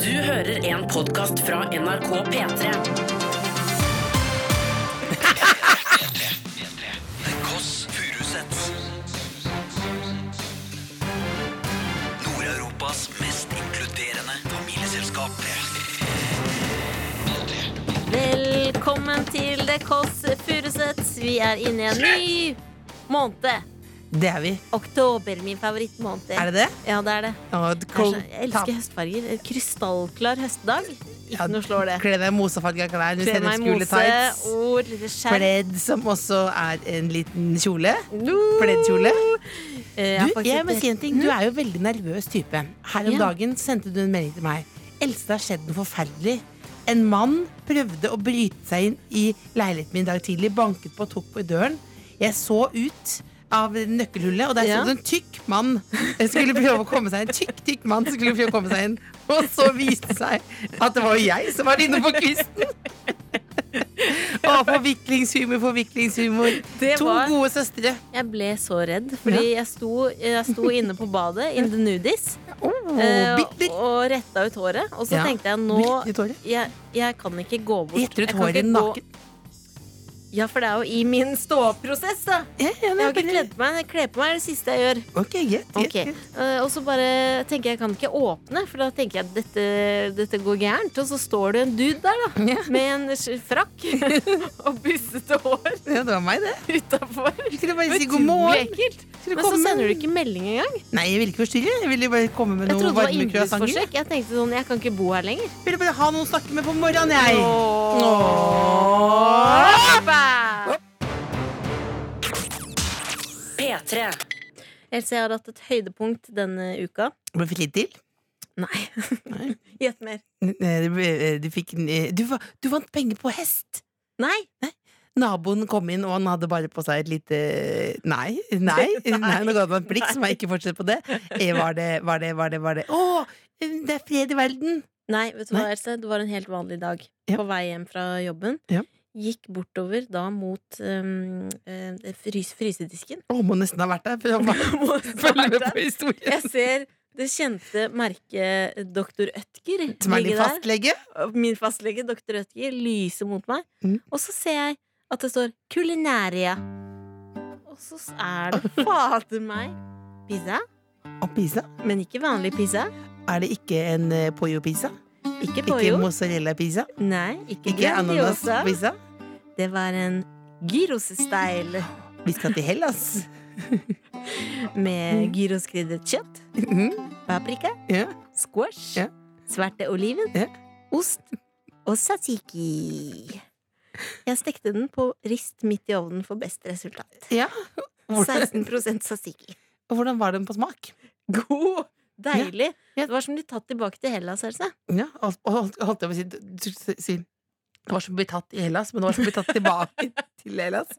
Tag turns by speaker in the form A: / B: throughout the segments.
A: Du hører en podkast fra NRK P3.
B: The Koss Furusets Nord-Europas mest inkluderende familieselskap
C: Velkommen til The Kåss Furuseths. Vi er inne i en ny måned.
D: Det er vi.
C: Oktober, min favorittmåned.
D: Er det det?
C: Ja, det er det.
D: Å,
C: Det er
D: cold
C: så- Jeg elsker høstfarger. En krystallklar høstdag.
D: Ja,
C: Ikke noe slår det.
D: Kle deg i mosefarga klær,
C: Kle meg i
D: sennepsgule
C: mose,
D: tights.
C: ord, lille skjerf.
D: Pledd som også er en liten kjole.
C: No.
D: Pleddkjole.
C: Eh,
D: Du,
C: jeg har faktisk-
D: jeg må si en ting. Du er jo veldig nervøs type. Her
C: Mm.
D: om
C: Ja.
D: dagen sendte du en melding til meg. Else, det har skjedd noe forferdelig. En mann prøvde å bryte seg inn i leiligheten min i dag tidlig. Banket på og tok på døren. Jeg så ut av nøkkelhullet, og der
C: Ja.
D: sto det en tykk mann. Jeg skulle prøve å komme seg inn. Tykk, tykk mann som skulle prøve å komme seg inn. Og så viste det seg at det var jo jeg som var inne på kvisten. Å, forviklingshumor, forviklingshumor.
C: Det
D: To
C: var-
D: gode søstre.
C: Jeg ble så redd, fordi jeg sto, jeg sto inne på badet in the nudies
D: Oh,
C: eh,
D: bitter.
C: og retta ut håret. Og så
D: Ja.
C: tenkte jeg
D: Blitt
C: nå
D: litt håret.
C: jeg, jeg kan ikke gå bort.
D: Retter
C: Jeg
D: ut
C: kan
D: håret
C: ikke gå-
D: naken.
C: Ja, for det er jo i min ståprosess, da.
D: Ja, ja,
C: Jeg har ikke kledd på meg. Jeg kler på meg er det siste jeg gjør.
D: Ok, greit. greit,
C: Ok.
D: greit.
C: Eh, og så bare tenker jeg kan ikke åpne, for da tenker jeg at dette, dette går gærent. Og så står det en dude der, da.
D: Ja.
C: Med en sk- frakk og bussete hår
D: Ja, det var meg, det.
C: utafor.
D: Jeg skulle bare si god morgen.
C: ekkelt.
D: Skulle
C: Men så
D: komme-
C: sender du ikke melding engang.
D: Nei, jeg ville ikke forstyrre. Jeg ville bare komme med
C: Jeg
D: noen
C: trodde det var
D: varme croissanter.
C: innbruddsforsøk. Jeg tenkte sånn, jeg kan ikke bo her lenger.
D: Ville bare ha noen å snakke med på morgenen, jeg.
C: Hoppa!
A: P3.
C: Else, jeg har hatt et høydepunkt denne uka.
D: Ble for litt til.
C: Nei.
D: Nei.
C: Gjett mer.
D: Eh, Du ble- eh, du fikk en, eh, du, va- du vant penger på hest.
C: Nei.
D: Naboen kom inn, og han hadde bare på seg et lite Nei, nei, nei nå ga du meg et blikk, så må jeg ikke fortsette på det. Eh, Var det, var det, var det, var det Å, det er fred i verden!
C: Nei, vet du hva, Else? Det var en helt vanlig dag.
D: Ja.
C: På vei hjem fra jobben.
D: Ja.
C: Gikk bortover da mot um, eh, frys frysedisken.
D: Å, må nesten ha vært der for å følge med på
C: Jeg
D: historien.
C: ser det kjente merket Dr. Ødger
D: Som er
C: ligge
D: din
C: der.
D: fastlege.
C: Og Min fastlege, Dr. Ødger, lyser mot meg.
D: Mm.
C: Og så ser jeg at det står 'Kulinaria'. Og så er det fader meg pizza.
D: Og pizza?
C: Men ikke vanlig pizza.
D: Er det ikke en eh, pollo-pizza?
C: Ikke
D: Ikke
C: pollo.
D: mozzarella-pizza?
C: Nei, ikke,
D: Ikke
C: Grandiosa.
D: ananas-pizza?
C: Det var en gyros-style
D: Vi skal til Hellas.
C: med gyroskrydret kjøtt,
D: Mhm,
C: paprika,
D: Mm. ja.
C: squash,
D: Ja.
C: svarte oliven,
D: Ja.
C: ost og tzatziki. Jeg stekte den på rist midt i ovnen for best resultat.
D: Ja. Hvordan,
C: 16 tzatziki.
D: og hvordan var den på smak?
C: God! Deilig.
D: Ja. Ja.
C: Det var som de tatt tilbake til Hellas, altså. Else.
D: Ja, og, og holdt- holdt jeg på å si, du- du- si Det var som å bli tatt i Hellas, men det var som å bli tatt tilbake til Hellas.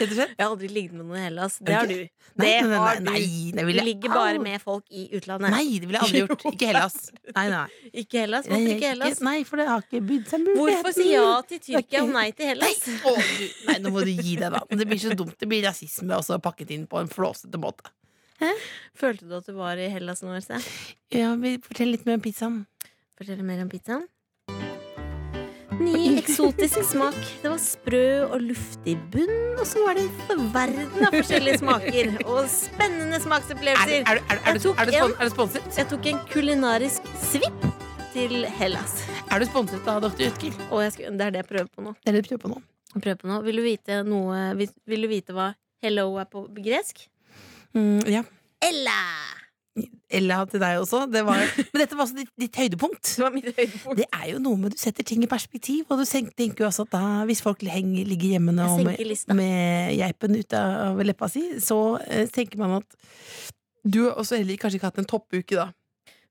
D: Rett og slett.
C: Jeg har aldri ligget med noen i Hellas. Det har du.
D: Nei,
C: Det
D: nei, nei,
C: har du.
D: nei, det
C: Du
D: ville jeg
C: ligger bare
D: aldri-
C: med folk i utlandet.
D: Nei, det ville jeg aldri gjort.
C: Jo.
D: Ikke Hellas. Nei, nei.
C: Ikke Hellas.
D: Nei,
C: Hvorfor ikke Hellas?
D: Nei, for det har ikke bydd seg muligheten.
C: Hvorfor si ja til Tyrkia og nei til
D: Nei,
C: Hellas?
D: å, du, nei, nå må du gi deg, da. Det blir så dumt. Det blir rasisme også pakket inn på en flåsete måte.
C: Følte du at du var i Hellas nå, Else?
D: Ja, vi- Fortell litt mer om pizzaen.
C: Fortell mer om pizzaen. Ny eksotisk smak. Det var sprø og luftig bunn, og så var det en verden av forskjellige smaker. Og spennende
D: Er, er,
C: smaksopplevelser.
D: er, er, er,
C: Jeg
D: du-
C: tok
D: er, du spon-
C: en-
D: er du sponset?
C: Jeg tok en kulinarisk svipp til Hellas.
D: Er du sponset av Dr. Ødker?
C: Og jeg skulle, det er det jeg prøver på nå.
D: Det er det du prøver på nå.
C: Jeg prøver på nå. Vil, du vite noe, vil, vil du vite hva hello er på gresk?
D: Mm, ja.
C: Ella!
D: Eller til deg også. Det var, men dette var også ditt, ditt høydepunkt.
C: Det var mitt høydepunkt.
D: Det er jo noe med Du setter ting i perspektiv, og du sen- tenker jo også at da, hvis folk henger, ligger hjemme nå
C: Jeg senker
D: med,
C: lista.
D: med geipen ut av leppa si, så eh, tenker man at du har også heller kanskje ikke hatt en toppuke, da.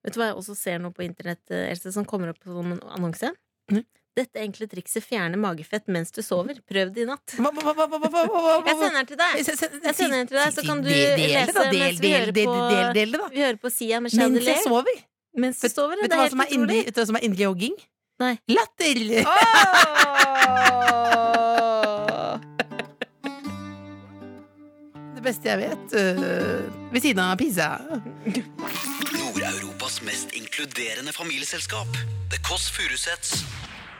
C: Vet du hva jeg også ser nå på internett, eh, Else, som kommer opp som en annonse?
D: Nei.
C: Dette enkle trikset fjerner magefett mens du sover. Prøv det i natt.
D: Hva, hva, hva, hva, hva, hva, hva, hva?
C: Jeg sender den til deg!
D: Se- se-
C: Jeg sender den til deg, så
D: si-
C: kan du
D: del- del det, da.
C: lese
D: Del-
C: mens vi
D: del-
C: hører
D: del-
C: på
D: del- del det, da.
C: Vi hører på Sia med
D: Mens jeg
C: Chandelier
D: sover.
C: mens du sover.
D: Vet
C: Det
D: du
C: er
D: hva som er
C: helt
D: indre,
C: utrolig.
D: vet du hva som er indre jogging?
C: Nei.
D: Latter! Det beste jeg vet. øh, ved siden av pizza.
B: Nord-Europas Europas mest inkluderende familieselskap. The Kåss Furuseths.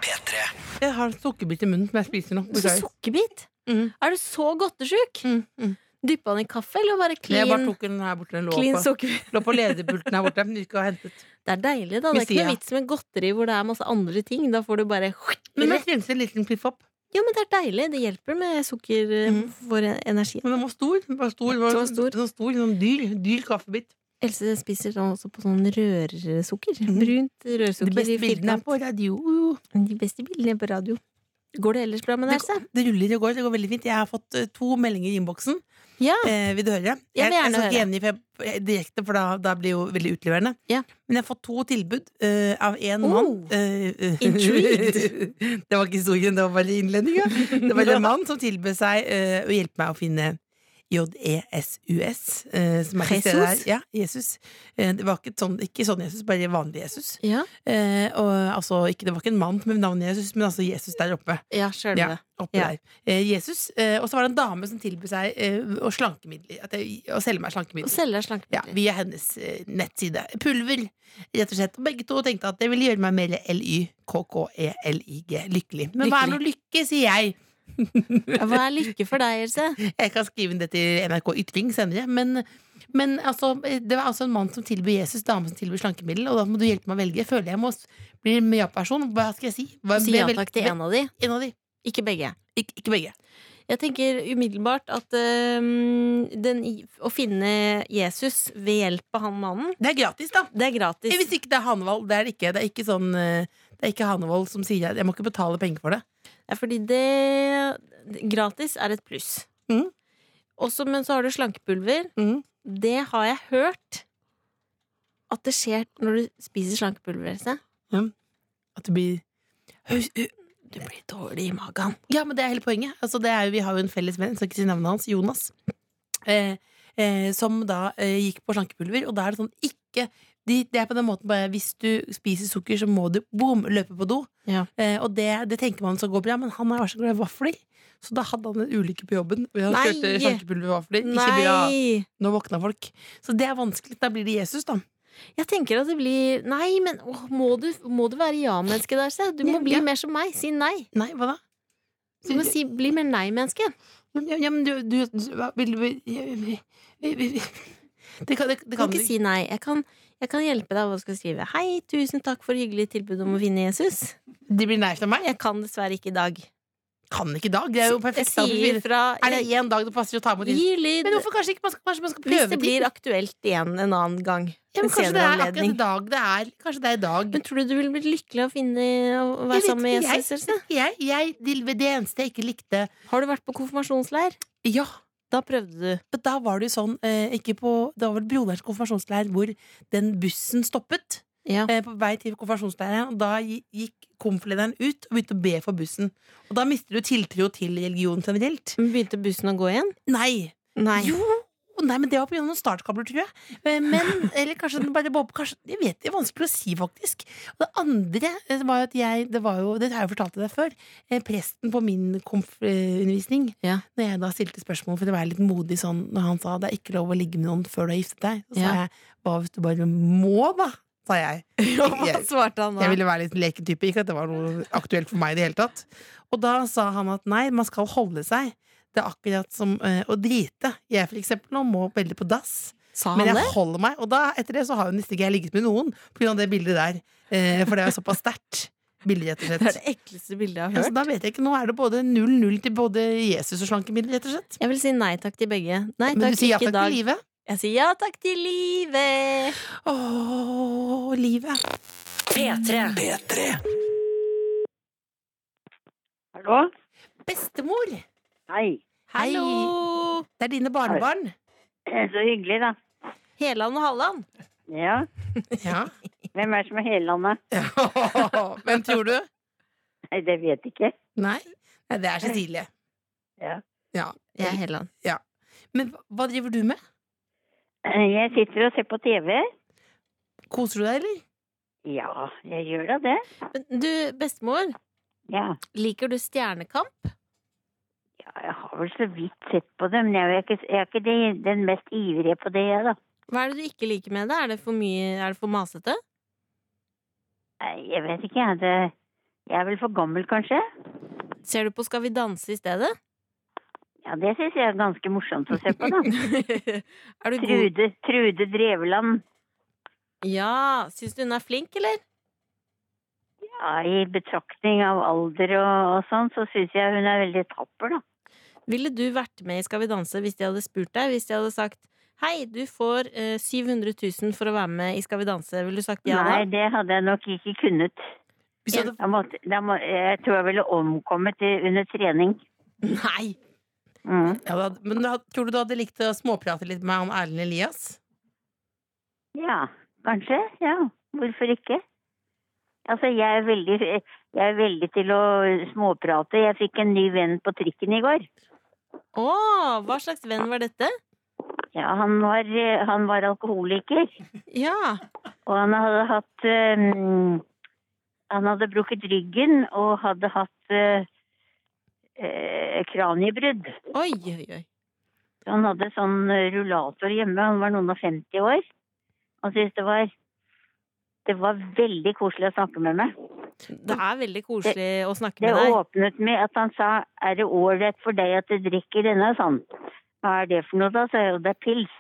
B: P3.
D: Jeg har en sukkerbit i munnen som jeg spiser nå.
C: Så
D: Beklager.
C: sukkerbit?
D: Mm.
C: Er du så godtesjuk?
D: Mm, mm.
C: Dyppa den i kaffe, eller bare
D: Jeg bare
C: clean,
D: tok den her borte. Den lå
C: clean
D: på,
C: sukkerbit?
D: lå på lederpulten her borte. men Den ikke var hentet.
C: Det er deilig, da. Det er ikke
D: Messia.
C: noe vits med godteri hvor det er masse andre ting. Da får du bare
D: Men jeg trengte en liten piff opp.
C: Ja, men det er deilig. Det hjelper med sukker eh,
D: Mhm.
C: for energi.
D: Men den var stor. Den var stor, den var
C: Den var stor.
D: Sånn, stor, sånn dyr, dyr kaffebit.
C: Else spiser sånn også på sånn rørsukker. Brunt
D: Mm. De
C: rørsukker
D: beste
C: i
D: bildene er
C: firkant.
D: på radio.
C: De beste bildene er på radio. Går det ellers bra med deg, Else?
D: Det ruller og går. Det går veldig fint. Jeg har fått eh, to meldinger i innboksen.
C: Ja.
D: Eh, vil du høre?
C: Jeg vil gjerne
D: jeg, jeg skal
C: høre.
D: ikke gjengi for jeg- direkte, for da, da blir jo veldig utleverende.
C: Ja.
D: Men jeg har fått to tilbud eh, av én
C: Oh.
D: mann. Eh,
C: Intrigued.
D: det var ikke historien, det var bare innledninga. Det var en mann som tilbød seg eh, å hjelpe meg å finne E JESUS. eh, som er til stede her.
C: Jesus?
D: Ja, Jesus. Eh, det var ikke sånn, ikke sånn Jesus, bare vanlig Jesus.
C: Ja,
D: Eh, og, altså, ikke, det var ikke en mann med navnet Jesus, men altså Jesus der oppe.
C: ja sjøl
D: Ja, oppe
C: Ja.
D: der. Eh, Jesus. Eh, og så var det en dame som tilbød seg eh, å, slankemidler, at jeg, å selge meg
C: Å
D: slankemidler.
C: selge deg
D: Ja,
C: slankemidler.
D: via hennes eh, nettside. Pulver, rett og slett. Og begge to tenkte at det ville gjøre meg mer L-Y-K-K-E-L-I-G. Lykkelig. Men hva er
C: Lykkelig.
D: nå lykke, sier jeg.
C: Ja, Hva er lykke for deg, Else?
D: Jeg kan skrive inn det til NRK Ytring senere. Men, men altså, det var altså en mann som tilbød Jesus, dame som tilbød slankemiddel. Og da må du hjelpe meg å velge. Jeg føler jeg må s- bli en ja-person. Hva skal jeg si? Hva,
C: Si ja takk til en av de,
D: En av de.
C: ikke begge.
D: Ik ikke begge.
C: Jeg tenker umiddelbart at øhm, den, i- å finne Jesus ved hjelp av han mannen,
D: Det er gratis, da.
C: det er gratis.
D: Eh, Hvis ikke det er Hanevold. Det er det ikke. Det er ikke, sånn, eh, det er ikke Hanevold som sier at jeg må ikke betale penger for det.
C: Ja, fordi det Gratis er et pluss.
D: Mhm.
C: Også, men så har du slankepulver.
D: Mhm.
C: Det har jeg hørt at det skjer når du spiser slankepulver. Se.
D: At det blir Høs- hø-
C: Du blir dårlig i magen.
D: Ja, men det er hele poenget. Altså, det er jo, vi har jo en felles venn, skal ikke si navnet hans, Jonas, eh, eh, som da eh, gikk på slankepulver, og da er det sånn ikke de, det er på den måten bare Hvis du spiser sukker, så må du boom, løpe på do.
C: Ja.
D: Eh, og det, det tenker man skal gå bra, men han er så glad i vafler. Så da hadde han en ulykke på jobben. Og han
C: Nei!
D: kjørte slankepulvervafler. Ikke bra.
C: Nei!
D: Nå våkna folk. Så det er vanskelig. Da blir det Jesus, da.
C: Jeg tenker at det blir Nei, men åh, må, du, må du være ja-menneske der, se? Du må
D: Ja,
C: bli
D: ja.
C: mer som meg. Si nei.
D: Nei, hva da?
C: Du må si, bli mer nei-menneske.
D: Ja, ja, men du, du, du hva, vil, vil, vil, vil, vil. Det kan, det,
C: Jeg kan
D: det kan du
C: ikke si nei. Jeg kan, jeg kan hjelpe deg. Hva du skal skrive? Hei, tusen takk for hyggelig tilbud om å finne Jesus.
D: Det blir nei fra meg.
C: Jeg kan dessverre ikke i dag.
D: Jeg kan ikke i dag. Det er jo perfekt. da.
C: Jeg sier
D: Hvorfor-
C: fra
D: Er det én dag det passer å ta imot Jesus?
C: Gi lyd
D: Men hvorfor kanskje ikke? Man skal, kanskje man skal prøve
C: hvis det blir aktuelt igjen en annen gang. en
D: ja, men Kanskje det
C: senere
D: er akkurat
C: anledning.
D: i dag det er. Kanskje det er i dag.
C: Men tror du du ville blitt lykkelig av å finne å være
D: Jeg vet
C: sammen med
D: ikke,
C: Jesus? Else?
D: Jeg, jeg, det, det eneste jeg ikke likte
C: Har du vært på konfirmasjonsleir?
D: Ja,
C: Da prøvde du.
D: Men da var det jo sånn eh, ikke på, Det var vel broderens konfirmasjonsleir hvor den bussen stoppet.
C: Ja.
D: eh, på vei til konfirmasjonsleiren, og da gi- gikk konfirmlederen ut og begynte å be for bussen. Og da mister du tiltro til religion generelt.
C: Men begynte bussen å gå igjen?
D: Nei!
C: Nei.
D: Jo! Nei, men Det var pga. noen startkabler, tror jeg. Eh, Men, eller kanskje den bare bob, kanskje, Jeg vet det er vanskelig å si, faktisk. Og det andre eh, var jo at jeg Det, var jo, det har jeg jo fortalt til deg før. eh, Presten på min konf-undervisning,
C: Ja.
D: når jeg da stilte spørsmål for å være litt modig sånn, når han sa det er ikke lov å ligge med noen før du har giftet deg, så sa
C: Ja.
D: jeg hva hvis du bare må, da? sa jeg.
C: Og hva svarte han da?
D: Jeg ville være litt leken type. Ikke at det var noe aktuelt for meg i det hele tatt. Og da sa han at nei, man skal holde seg. Det er akkurat som eh, å drite. Jeg for eksempel nå må veldig på dass.
C: Sa
D: Men
C: han det?
D: jeg holder meg. Og da, etter det så har jo nesten ikke jeg ligget med noen på grunn av det bildet der. Eh, for det er såpass sterkt bilde, rett og
C: Det er
D: slett.
C: det ekleste bildet jeg
D: Ja,
C: har
D: så
C: hørt.
D: da vet jeg ikke. Nå er det både 0-0 til både Jesus og slankemiddel, rett og slett.
C: Jeg vil si nei takk til begge. Nei
D: Men
C: takk,
D: du sier ja
C: ikke i
D: takk til
C: dag.
D: livet.
C: Jeg sier ja takk til livet!
D: Åh, livet.
A: P3.
B: P3.
E: Hallo?
D: Bestemor!
E: Hei.
D: Hei.
C: Hallo!
D: Det er dine barnebarn.
E: Så hyggelig, da.
C: Heland og Halland.
E: Ja.
D: Ja.
E: Hvem er det som er hele landet?
D: Hvem tror du?
E: Nei, det vet jeg ikke.
D: Nei, Nei det er Cecilie.
E: Ja.
D: Ja.
C: Jeg er Heland.
D: Men hva- hva driver du med?
E: Jeg sitter og ser på TV.
D: Koser du deg, eller?
E: Ja, jeg gjør da det.
C: Men du, bestemor,
E: Ja.
C: liker du Stjernekamp?
E: ja. Jeg har vel så vidt sett på det, men jeg er ikke, jeg er ikke de- den mest ivrige på det, jeg, da.
C: Hva er det du ikke liker med det? Er det for mye, er det for masete?
E: Nei, jeg vet ikke, jeg. Det, jeg er vel for gammel, kanskje?
C: Ser du på Skal vi danse i stedet?
E: Ja, det syns jeg er ganske morsomt å se på, da.
C: er du god?
E: Trude, Trude Drevland.
C: Ja, syns du hun er flink, eller?
E: Ja, I betraktning av alder og, og sånn, så syns jeg hun er veldig tapper, da.
C: Ville du vært med i Skal vi danse hvis de hadde spurt deg? Hvis de hadde sagt hei, du får eh, 700 000 for å være med i Skal vi danse, ville du sagt ja da?
E: Nei, det hadde jeg nok ikke kunnet.
D: Hvis du hadde
E: Da måtte, da må, jeg tror jeg ville omkommet i, under trening.
C: Nei!
E: Mm.
D: Ja, da, men da, tror du du hadde likt å småprate litt med han Erlend Elias?
E: Ja, kanskje. Ja, hvorfor ikke? Altså, jeg er veldig, jeg er veldig til å småprate. Jeg fikk en ny venn på trikken i går.
C: Å, hva slags venn var dette?
E: Ja, han var, eh, han var alkoholiker,
C: Ja.
E: og han hadde hatt eh, mm, Han hadde brukket ryggen og hadde hatt eh, eh, kraniebrudd.
C: Oi, oi, oi.
E: Så Han hadde sånn eh, rullator hjemme, han var noen og 50 år. Han syntes det var Det var veldig koselig å snakke med meg.
C: Det er veldig koselig å snakke
E: Det
C: med deg.
E: åpnet med at han sa er det ålreit for deg at du drikker denne, sa han. Hva er det for noe da, sa jeg, og det er pils.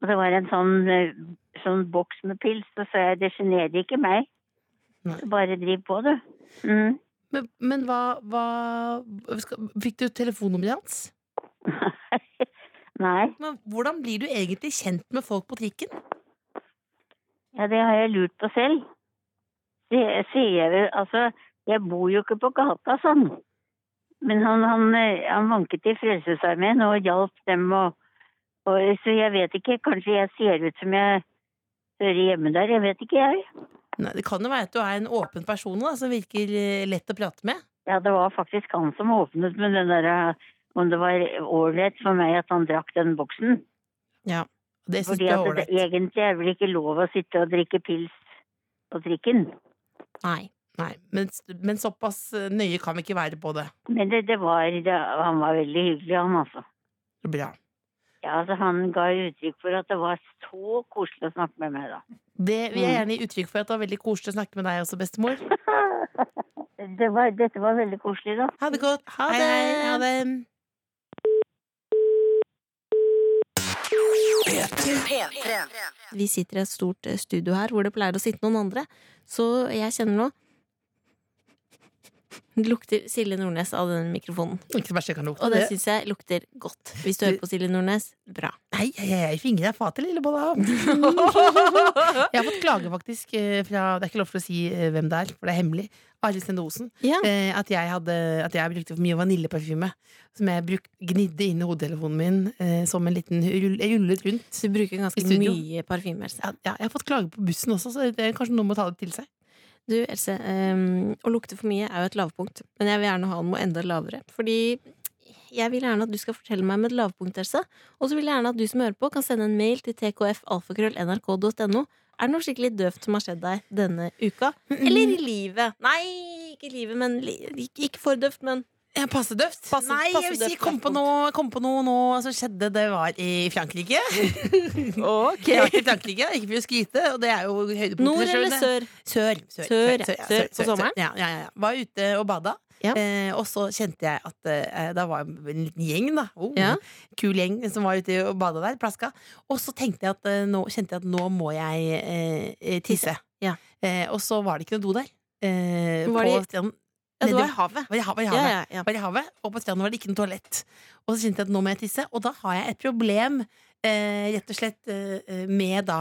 E: Og det var en sånn, eh, sånn boks med pils, så sa jeg det sjenerer ikke meg.
D: Nei.
E: Bare driv på, du. Mm.
D: Men, men hva, hva skal, Fikk du telefonnummeret hans?
E: Nei,
D: Men hvordan blir du egentlig kjent med folk på trikken?
E: ja, det har jeg lurt på selv. Det sier jeg vel, altså, jeg bor jo ikke på gata sånn. Men han, han, eh, han vanket i Frelsesarmeen og hjalp dem og, og Så jeg vet ikke, kanskje jeg ser ut som jeg hører hjemme der, jeg vet ikke jeg.
D: Nei, det kan jo være at du er en åpen person da, som virker eh, lett å prate med.
E: Ja, det var faktisk han som åpnet med den derre om det var ålreit for meg at han drakk den boksen.
D: Det syns
E: Fordi
D: jeg er
E: at det
D: ålreit.
E: egentlig er vel ikke lov å sitte og drikke pils på trikken.
C: Nei.
D: Nei, men, men såpass eh, nøye kan vi ikke være på det.
E: Men det, det var det, Han var veldig hyggelig, han altså.
D: Bra.
E: Ja, altså Han ga uttrykk for at det var så koselig å snakke med meg, da.
D: Det vil jeg gjerne gi uttrykk for at det var veldig koselig å snakke med deg også, bestemor.
E: Det var, dette var veldig koselig, da.
D: Ha det godt.
C: Ha
D: Hei,
C: det.
D: hei. Ha det.
C: Vi sitter i et stort eh, studio her hvor det pleier å sitte noen andre. Så jeg kjenner nå Det lukter Silje Nordnes av den mikrofonen.
D: Ikke det verste jeg kan lukte.
C: Og det syns jeg lukter godt. Hvis du hører på Silje Nordnes, bra.
D: Nei, jeg, jeg fingrer deg fatet, lille bolla. Jeg har fått klage, faktisk, eh, fra Det er ikke lov for å si eh, hvem det er, for det er hemmelig. Arild Sende Osen.
C: Ja.
D: eh, At, jeg hadde, at jeg brukte for mye vaniljeparfyme. Som jeg bruk, gnidde inn i hodetelefonen min eh, som en liten rull, jeg rullet rundt.
C: Du bruker
D: I
C: ganske
D: studio.
C: mye parfymer.
D: Ja, ja, jeg har fått klage på bussen også, så det, kanskje noen må ta det til seg.
C: Du, Else, ehm, å lukte for mye er jo et lavpunkt, men jeg vil gjerne ha noe enda lavere. Fordi jeg vil gjerne at du skal fortelle meg om et lavpunkt, Else. Og så vil jeg gjerne at du som hører på, kan sende en mail til tkfalfakrøllnrk.no. Er det noe skikkelig døvt som har skjedd deg denne uka? Eller i livet? Nei, ikke i livet, men li ikke, ikke for døvt, men
D: Ja, passe døvt.
C: Passe-
D: Nei,
C: passe
D: jeg vil si
C: døvt,
D: kom på
C: lavpunkt.
D: noe, kom på noe nå som skjedde. Det var i Frankrike. Jeg har vært i Frankrike, ikke for å skryte, og det er jo høydepunktet.
C: Nord
D: selv,
C: eller
D: det.
C: sør?
D: Sør. Sør,
C: Sør,
D: ja,
C: sør, på sommeren?
D: Ja, ja, ja. Var ute og bada.
C: Ja.
D: Eh, og så kjente jeg at eh, da var jeg en liten gjeng, da. Oh,
C: Ja.
D: Kul gjeng som var ute og bada der. Plaska. Og så tenkte jeg at, eh, nå, kjente jeg at nå må jeg eh, tisse.
C: Ja.
D: Eh, og så var det ikke noe do der. Eh,
C: Var
D: på
C: det-
D: stranden.
C: Ja, det
D: Nede-
C: var i havet.
D: var i havet. i
C: Ja,
D: havet.
C: ja, ja.
D: Var i havet, og på stranden var det ikke noe toalett. Og så kjente jeg at nå må jeg tisse, og da har jeg et problem eh, rett og slett eh, med da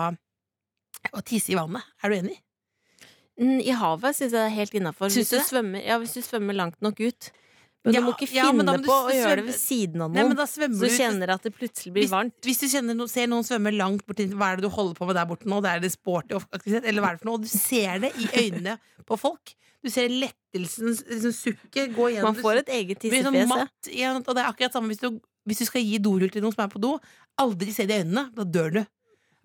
D: å tisse i vannet. Er du enig?
C: Mm, I havet syns jeg det er helt innafor.
D: Syns
C: Hvis,
D: du
C: du
D: det?
C: svømmer- ja, hvis du svømmer langt nok ut. Men
D: Ja,
C: du må ikke
D: ja, men
C: finne
D: da må du
C: på å
D: svømme-
C: gjøre det ved siden av
D: Nei,
C: noen.
D: men da svømmer
C: Så
D: du
C: du kjenner at det plutselig blir varmt.
D: Hvis du kjenner noen, ser noen svømme langt bort inn, Hva er det du holder på med der borte nå? Det er det sporty aktivitet, eller hva er det for noe? Og du ser det i øynene på folk. Du ser lettelsen, liksom sukket gå gjennom.
C: Man får et eget
D: Du blir sånn
C: tissefjes. ja.
D: matt igjen, og det er akkurat samme hvis du, hvis du skal gi dorull til noen som er på do. Aldri se det i øynene, da dør du.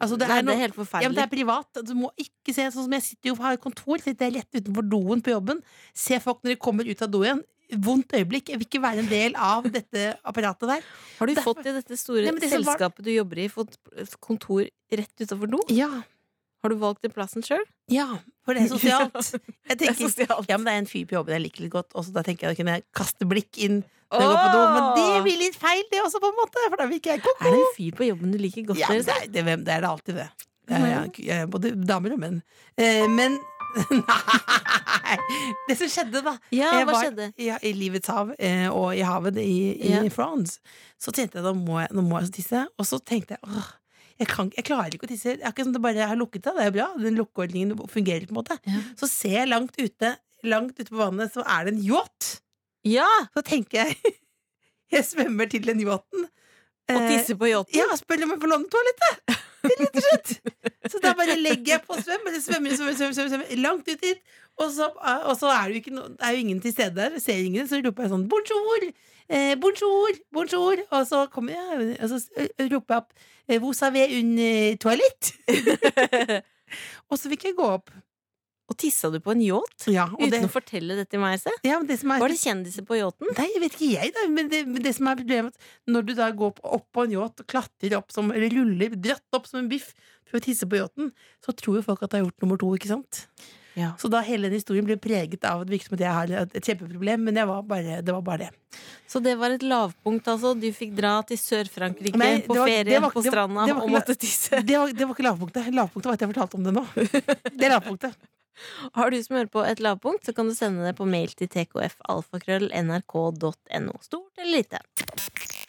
D: Altså, det,
C: Nei,
D: er
C: det er
D: noe,
C: helt
D: ja, men det
C: forferdelig.
D: er privat. Du må ikke se sånn som jeg sitter jo har et kontor, sitter jeg rett utenfor doen på jobben. Se folk når de kommer ut av do igjen. vondt øyeblikk. Jeg vil ikke være en del av dette apparatet der.
C: Har du
D: Derfor-
C: fått i dette store
D: Nei, men det som var-
C: selskapet du jobber i, fått kontor rett utafor do?
D: Ja,
C: Har du valgt den plassen sjøl?
D: ja, for det er sosialt. Jeg
C: Det er
D: tenker,
C: sosialt.
D: ja, men det er en fyr på jobben jeg liker litt godt, og så da tenker jeg å kunne kaste blikk inn når jeg går på do. Men det blir litt feil, det også, på en måte, for da blir ikke jeg ko-ko.
C: Er det en fyr på jobben du liker godt?
D: Ja, men
C: dere
D: det,
C: sa?
D: er, det, hvem- det er det alltid, det. det er, ja, ja, både damer og menn. Eh, men Nei! Det som skjedde, da.
C: ja
D: Jeg
C: hva
D: var-
C: skjedde?
D: Ja, I livets hav eh, og i havet i, i
C: Ja.
D: France. Så tenkte jeg nå må jeg, nå må jeg tisse, og så tenkte jeg åh, jeg, kan, jeg klarer ikke å tisse. Det er ikke sånn at det bare jeg har lukket det, det er bra. Den lukkeordningen fungerer på en måte.
C: Ja.
D: Så ser jeg langt ute, langt ute på vannet, så er det en yacht.
C: Ja!
D: Så tenker jeg jeg svømmer til den yachten.
C: Og
D: Eh,
C: tisse på yachten?
D: ja, spør om jeg får låne toalettet! Rett og slett. Så da bare legger jeg på og svømmer, svømmer, svømmer, svømmer, svømmer, svømmer langt ut dit. Og så, eh, og så er, det jo ikke no, er jo ingen til stede der, ser ingen, så roper jeg sånn 'bonjour', eh, 'bonjour', 'bonjour', og så, kommer jeg, og så eh, roper jeg opp eh, 'vous avez un eh, toalett?' og så fikk jeg gå opp.
C: Og tissa du på en yacht?
D: Ja, og
C: Uten
D: det,
C: å fortelle det til meg? Se.
D: ja, men det som er
C: Var det kjendiser på yachten?
D: Nei, jeg vet ikke jeg, da. Men det, men det som er problemet, at når du da går opp, opp på en yacht og klatrer opp som Eller ruller dratt opp som en biff for å tisse på yachten, så tror jo folk at jeg har gjort nummer to, ikke sant?
C: Ja.
D: Så da hele den historien blir preget av at det virker som at jeg har et kjempeproblem, men jeg var bare, det var bare det.
C: Så det var et lavpunkt, altså? Du fikk dra til Sør-Frankrike
D: Nei,
C: på
D: det var-
C: ferie
D: det var-
C: på
D: det var-
C: stranda
D: det var
C: og
D: ikke la-
C: måtte tisse?
D: Det var, det var ikke lavpunktet. Lavpunktet var at jeg fortalte om det nå. Det er lavpunktet.
C: Har du som hører på et lavpunkt, så kan du sende det på mail til tkfalfakrøll.nrk.no. Stort eller lite.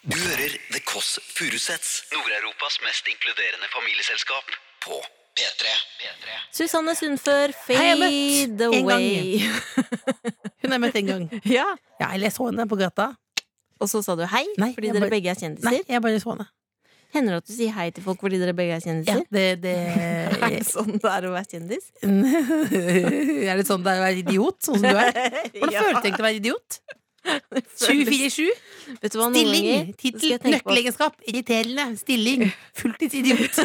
B: Du hører The Kåss Furuseths, Nord-Europas mest inkluderende familieselskap, på P3. P3.
C: Susanne Sundfør,
D: Hei, jeg
C: fade
D: har møtt en gang.
C: away.
D: Hun har jeg møtt en gang.
C: ja.
D: Ja, eller jeg så henne på gata.
C: Og så sa du hei,
D: Nei,
C: fordi
D: jeg
C: dere
D: bare-
C: begge er
D: Nei,
C: kjendiser.
D: jeg bare så henne.
C: Hender det at du sier hei til folk fordi dere begge er
D: Ja,
C: kjendiser?
D: det, det
C: Er det sånn det er å være kjendis?
D: Er det sånn det er å være idiot, sånn som du er? Hvordan
C: Ja.
D: følte du egentlig å være idiot? 24-7?
C: Vet du hva, noen
D: Stilling,
C: ganger skal
D: tittel,
C: jeg tenke på-
D: nøkkelegenskap, irriterende, stilling, fulltidsidiot.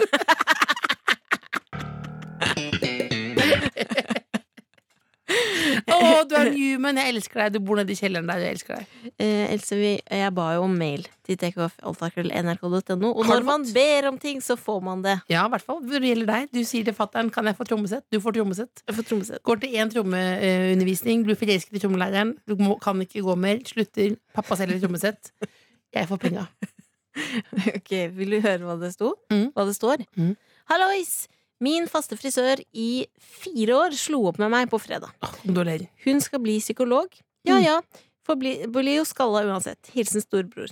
D: Å, du er human, jeg elsker deg. Du bor nede i kjelleren der, jeg elsker deg.
C: Eh, Else, vi, jeg ba jo om mail til tkfalfakrøll.nrk.no. Og
D: Har du
C: når man ber om ting, så får man det.
D: Ja, i hvert fall når det gjelder deg. Du sier til fatter'n 'kan jeg få trommesett'? Du får trommesett.
C: Jeg får trommesett.
D: Går til én trommeundervisning, blir forelsket i trommelæreren, du må, kan ikke gå mer, slutter, pappa selger trommesett. Jeg får penga.
C: Ok, Vil du høre hva det sto?
D: Mm.
C: Hva det står?
D: Mm.
C: Hallois! Min faste frisør i fire år slo opp med meg på fredag.
D: Åh, Om du ler.
C: Hun skal bli psykolog. Ja ja, for bli, blir jo skalla uansett. Hilsen storbror.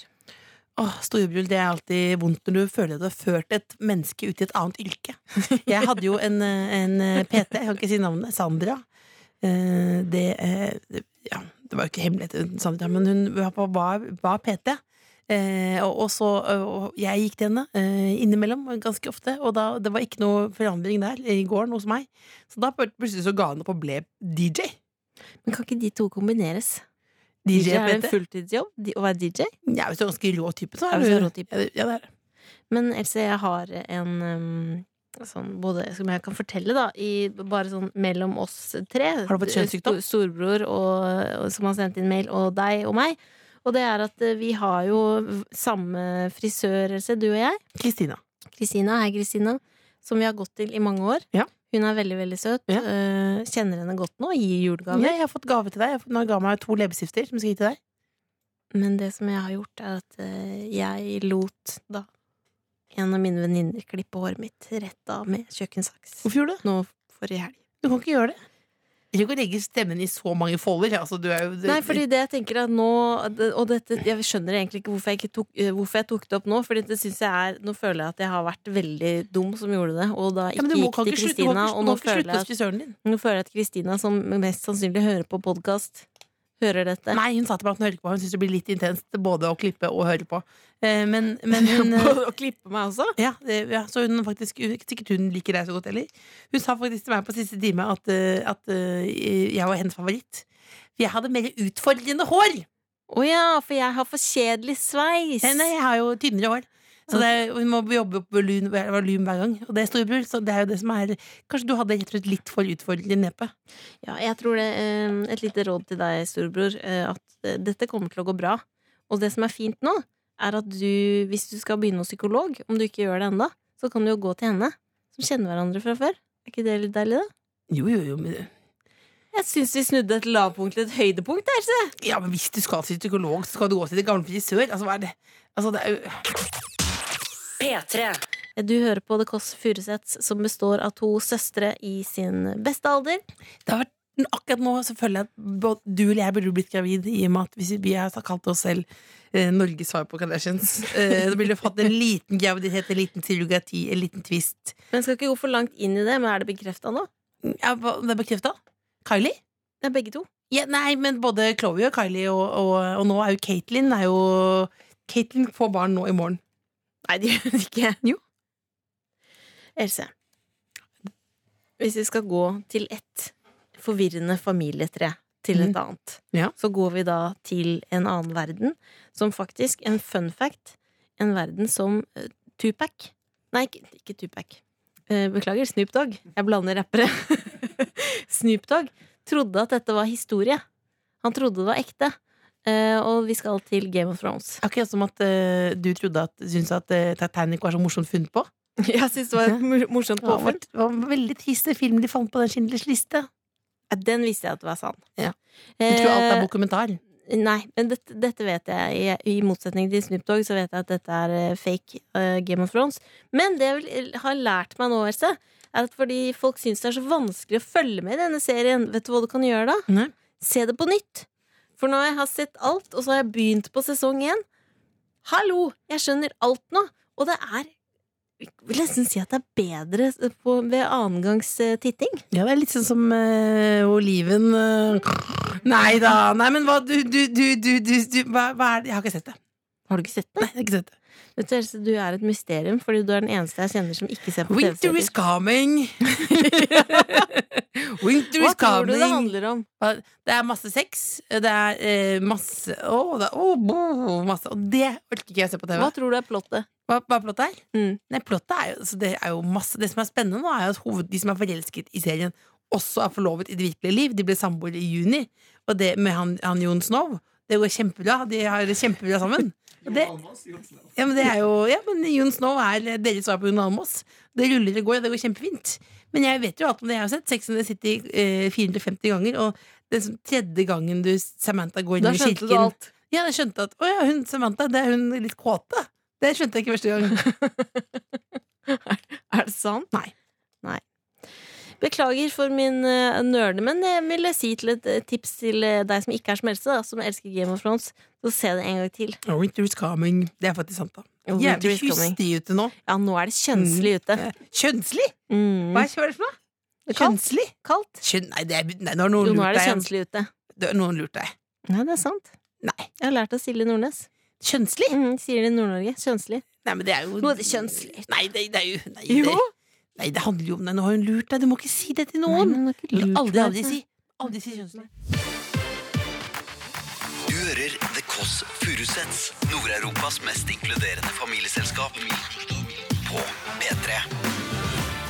D: Åh, Storebror, det er alltid vondt når du føler at du har ført et menneske ut i et annet yrke. Jeg hadde jo en, eh, en eh, PT, jeg kan ikke si navnet, Sandra. Eh, Det, eh, det- ja, det var jo ikke hemmelighet, uten Sandra, men hun var, var, var PT. Eh, og, og så eh, og Jeg gikk til henne eh, innimellom ganske ofte, og da, det var ikke noe forandring der i gården hos meg. Så da plut- plutselig så ga hun opp og ble DJ.
C: Men kan ikke de to kombineres?
D: DJ,
C: er en
D: PT.
C: fulltidsjobb di- å være DJ.
D: Jeg er jo så ganske rå type. Så
C: Er du så rå type?
D: Ja, det- ja, det er det.
C: Men Else, jeg har en um, sånn både Som jeg kan fortelle, da, i, bare sånn mellom oss tre.
D: Har du fått kjønnssykdom?
C: Sto- Storbror, og, og, som har sendt inn mail, og deg og meg. Og det er at eh, vi har jo v- samme frisør, Else, du og jeg.
D: Kristina.
C: Kristina, hei Kristina. Som vi har gått til i mange år.
D: Ja.
C: Hun er veldig, veldig søt.
D: Ja.
C: eh, kjenner henne godt nå, gir
D: Ja,
C: julegaver.
D: jeg har fått gave til deg. Jeg har fått- Nå ga meg to leppestifter som jeg skal gi til deg.
C: Men det som jeg har gjort, er at eh, jeg lot da en av mine venninner klippe håret mitt rett av med kjøkkensaks.
D: Hvorfor gjorde du det?
C: nå forrige helg.
D: Du kan ikke gjøre det. Du kan ikke legge stemmen i så mange folder. Altså, du er jo
C: Nei, fordi det jeg tenker at nå Og dette, jeg skjønner egentlig ikke hvorfor jeg, ikke tok, eh, hvorfor jeg tok det opp nå. Fordi det synes jeg er Nå føler jeg at jeg har vært veldig dum som gjorde det. Og da
D: ja,
C: ikke
D: men du må,
C: gikk
D: kan
C: til
D: ikke slutte, du kan
C: Kristina.
D: ikke,
C: Og
D: du
C: nå
D: kan ikke
C: føler
D: slutte hos
C: jeg,
D: frisøren din.
C: at- nå føler jeg at Kristina, som mest sannsynlig hører på podkast, hører dette.
D: Nei, hun sa til meg at hun hører ikke på. Hun syns det blir litt intenst både å klippe og høre på. Eh, Men, men hun eh,
C: Og klippe meg også.
D: ja, det- ja, så hun faktisk Sikkert hun liker deg så godt heller. Hun sa faktisk til meg på siste time at, eh, at eh, jeg var hennes favoritt. For jeg hadde mer utfordrende hår!
C: Å ja, for jeg har for kjedelig sveis.
D: Eh, Nei, nei, jeg har jo tynnere hår. Så det er, hun må jobbe opp volum, volum hver gang. Og det er storebror, så det er jo det som er Kanskje du hadde rett og slett litt for utfordrende nepe.
C: Ja, jeg tror det eh, Et lite råd til deg, storebror, eh, at eh, dette kommer til å gå bra. Og det som er fint nå, er at du, hvis du skal begynne hos psykolog, om du ikke gjør det ennå, så kan du jo gå til henne, som kjenner hverandre fra før. Er ikke det litt deilig, da?
D: Jo, jo, jo, men
C: Jeg syns vi snudde et lavpunkt til et høydepunkt der, se!
D: Ja, men hvis du skal til psykolog, så skal du gå til det gamle frisør. Altså, hva er det? Altså, det er jo
A: P3.
C: Du hører på The Kåss Furuseths, som består av to søstre i sin beste alder.
D: det har vært, Akkurat nå så føler jeg at både du eller jeg burde blitt gravid, i og med at hvis vi har kalt oss selv eh, Norges svar på Kardashians, eh, da ville vi fått en liten graviditet, en liten surrogati, en liten twist.
C: Men skal ikke gå for langt inn i det, men er det bekrefta nå?
D: Ja, hva- det er bekrefta? Kylie?
C: Det er begge to.
D: Ja, nei, men både Chloé og Kylie, og, og, og nå er jo Katelyn er jo Katelyn får barn nå i morgen.
C: Nei, det gjør det ikke.
D: Jo.
C: Else. Hvis vi skal gå til ett forvirrende familietre til et
D: Mm.
C: annet,
D: Ja.
C: så går vi da til en annen verden, som faktisk, en fun fact, en verden som eh, Tupac Nei, ikke, ikke Tupac. Eh, Beklager, Snoop Dogg. Jeg blander rappere. Snoop Dogg trodde at dette var historie. Han trodde det var ekte. Eh, Og vi skal til Game of Thrones.
D: Akkurat som at eh, du trodde at, syntes at eh, Titanic var så morsomt funnet på.
C: Jeg syns det var et mor- morsomt
D: Det var,
C: påfunn.
D: det var en veldig trist film de fant på den Schindlers liste.
C: Ja, Den visste jeg at det var sann.
D: Ja. Jeg
C: Jeg
D: tror alt er dokumentar.
C: Nei, men dette, dette vet jeg. I, I motsetning til Snoop Dogg så vet jeg at dette er eh, fake eh, Game of Thrones. Men det jeg vil- har lært meg nå, Else, er at fordi folk syns det er så vanskelig å følge med i denne serien, vet du hva du kan gjøre da?
D: Nei.
C: Se det på nytt. For når jeg har sett alt, og så har jeg begynt på sesong én Hallo! Jeg skjønner alt nå. Og det er jeg vil nesten si at det er bedre på, ved annengangs eh, titting.
D: Ja, det er litt sånn som eh, Oliven eh, Nei da! Nei, men hva Du, du, du, du, du, du hva, hva er det? Jeg har ikke sett det.
C: Har du ikke sett det?
D: Nei, jeg har ikke sett det.
C: Vet du, Else, du er et mysterium, fordi du er den eneste jeg kjenner som ikke ser på
D: Winter
C: TV-serier.
D: is coming! Winter
C: Hva
D: is
C: tror du det
D: coming!
C: handler om?
D: Hva- Det er masse sex. Det er eh, masse Å, det er, å, bo, masse Og det orker ikke jeg å se på TV.
C: Hva tror du er plottet?
D: Hva, hva er plottet her?
C: Mm.
D: Nei, plottet er jo, altså det, er jo masse, det som er spennende nå, er jo at hoved, de som er forelsket i serien, også er forlovet i det virkelige liv. De ble samboere i juni, og det med han, han Jon Snow. Det går kjempebra. De har det kjempebra sammen. Og Det, ja, men det er jo Ja, men Jon Snow er deres svar på Jon Almaas. Det ruller og går, og det går kjempefint. Men jeg vet jo alt om det jeg har sett. Sex and the City eh, 450 ganger. Og den som- tredje gangen du Samantha går inn
C: Da
D: i kirken
C: skjønte du alt.
D: ja, jeg skjønte at Å ja, hun Samantha, det er hun litt kåte. Det skjønte jeg ikke første gang.
C: Er det sant?
D: Nei.
C: Nei. Beklager for min uh, nørde, men jeg vil si til et eh, tips til eh, deg som ikke er som Else, da, som elsker Game of Thrones, så se det en gang til.
D: Winter is coming. Det er faktisk sant, da.
C: Oh, winter
D: Jævlig
C: is coming.
D: hystig ute nå.
C: Ja, nå er det kjønnslig ute.
D: Eh, Kjønnslig?
C: Mm.
D: Hva er hva er det for noe? Kjønnslig?
C: Kaldt?
D: Kjønn, nei, det er, nei, nå har
C: Jo, nå
D: noen lurt
C: er det
D: deg. Jens.
C: kjønnslig ute.
D: Det er Noen lurt deg.
C: Ja, det er sant.
D: Nei.
C: Jeg har lært av Silje Nordnes.
D: Kjønnslig?
C: Mm, sier det i Nord-Norge. Kjønnslig.
D: Nei, men det er jo
C: Nå er det kjønnslig.
D: Nei, det, det er jo nei, Det, nei, det handler jo om Nei, nå har hun lurt deg. Du må ikke si det til
C: Nei,
D: noen.
C: men hun har ikke lurt
D: aldri,
C: meg,
D: aldri
C: altså.
D: si. Aldri si kjønnslig.
B: Du hører The Kåss Furuseths, Nord-Europas mest inkluderende familieselskap. På P3.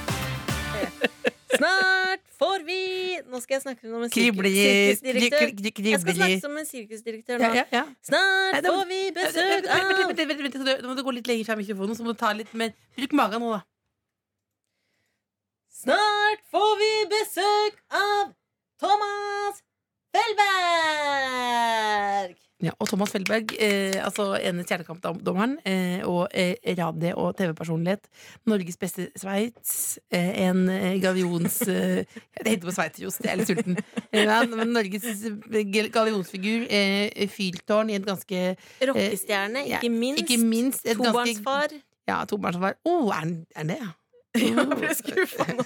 C: Snart får vi Nå skal jeg snakke som en sirkus-
D: Kribler
C: sirkusdirektør. Jeg skal snakke
D: Kribler
C: som en sirkusdirektør
D: Ja,
C: nå.
D: ja, ja. Nei,
C: Snart
D: det-
C: får vi
D: Vent,
C: besøk
D: vent, vent,
C: av
D: vent, vent, vent, vent, vent. Nå må du gå litt lenger fra mikrofonen. Så må du ta litt mer Bruk magen nå, da.
C: Snart får vi besøk av Thomas Fellberg!
D: Ja, og Thomas Felberg, eh, altså ene stjernekamp-dommeren eh, og eh, radio- og TV-personlighet. Norges beste Sveits. Eh, en eh, gavions... Eh, jeg heter på sveitserost, jeg er litt sulten. Eh, ja, men Norges gavionsfigur. Eh, fyrtårn i et ganske
C: Rockestjerne,
D: ja,
C: ikke minst.
D: Ikke minst et ganske
C: Tobarnsfar.
D: Ja, tobarnsfar. Å, oh, er han det, ja?
C: Jeg ble skuffa nå.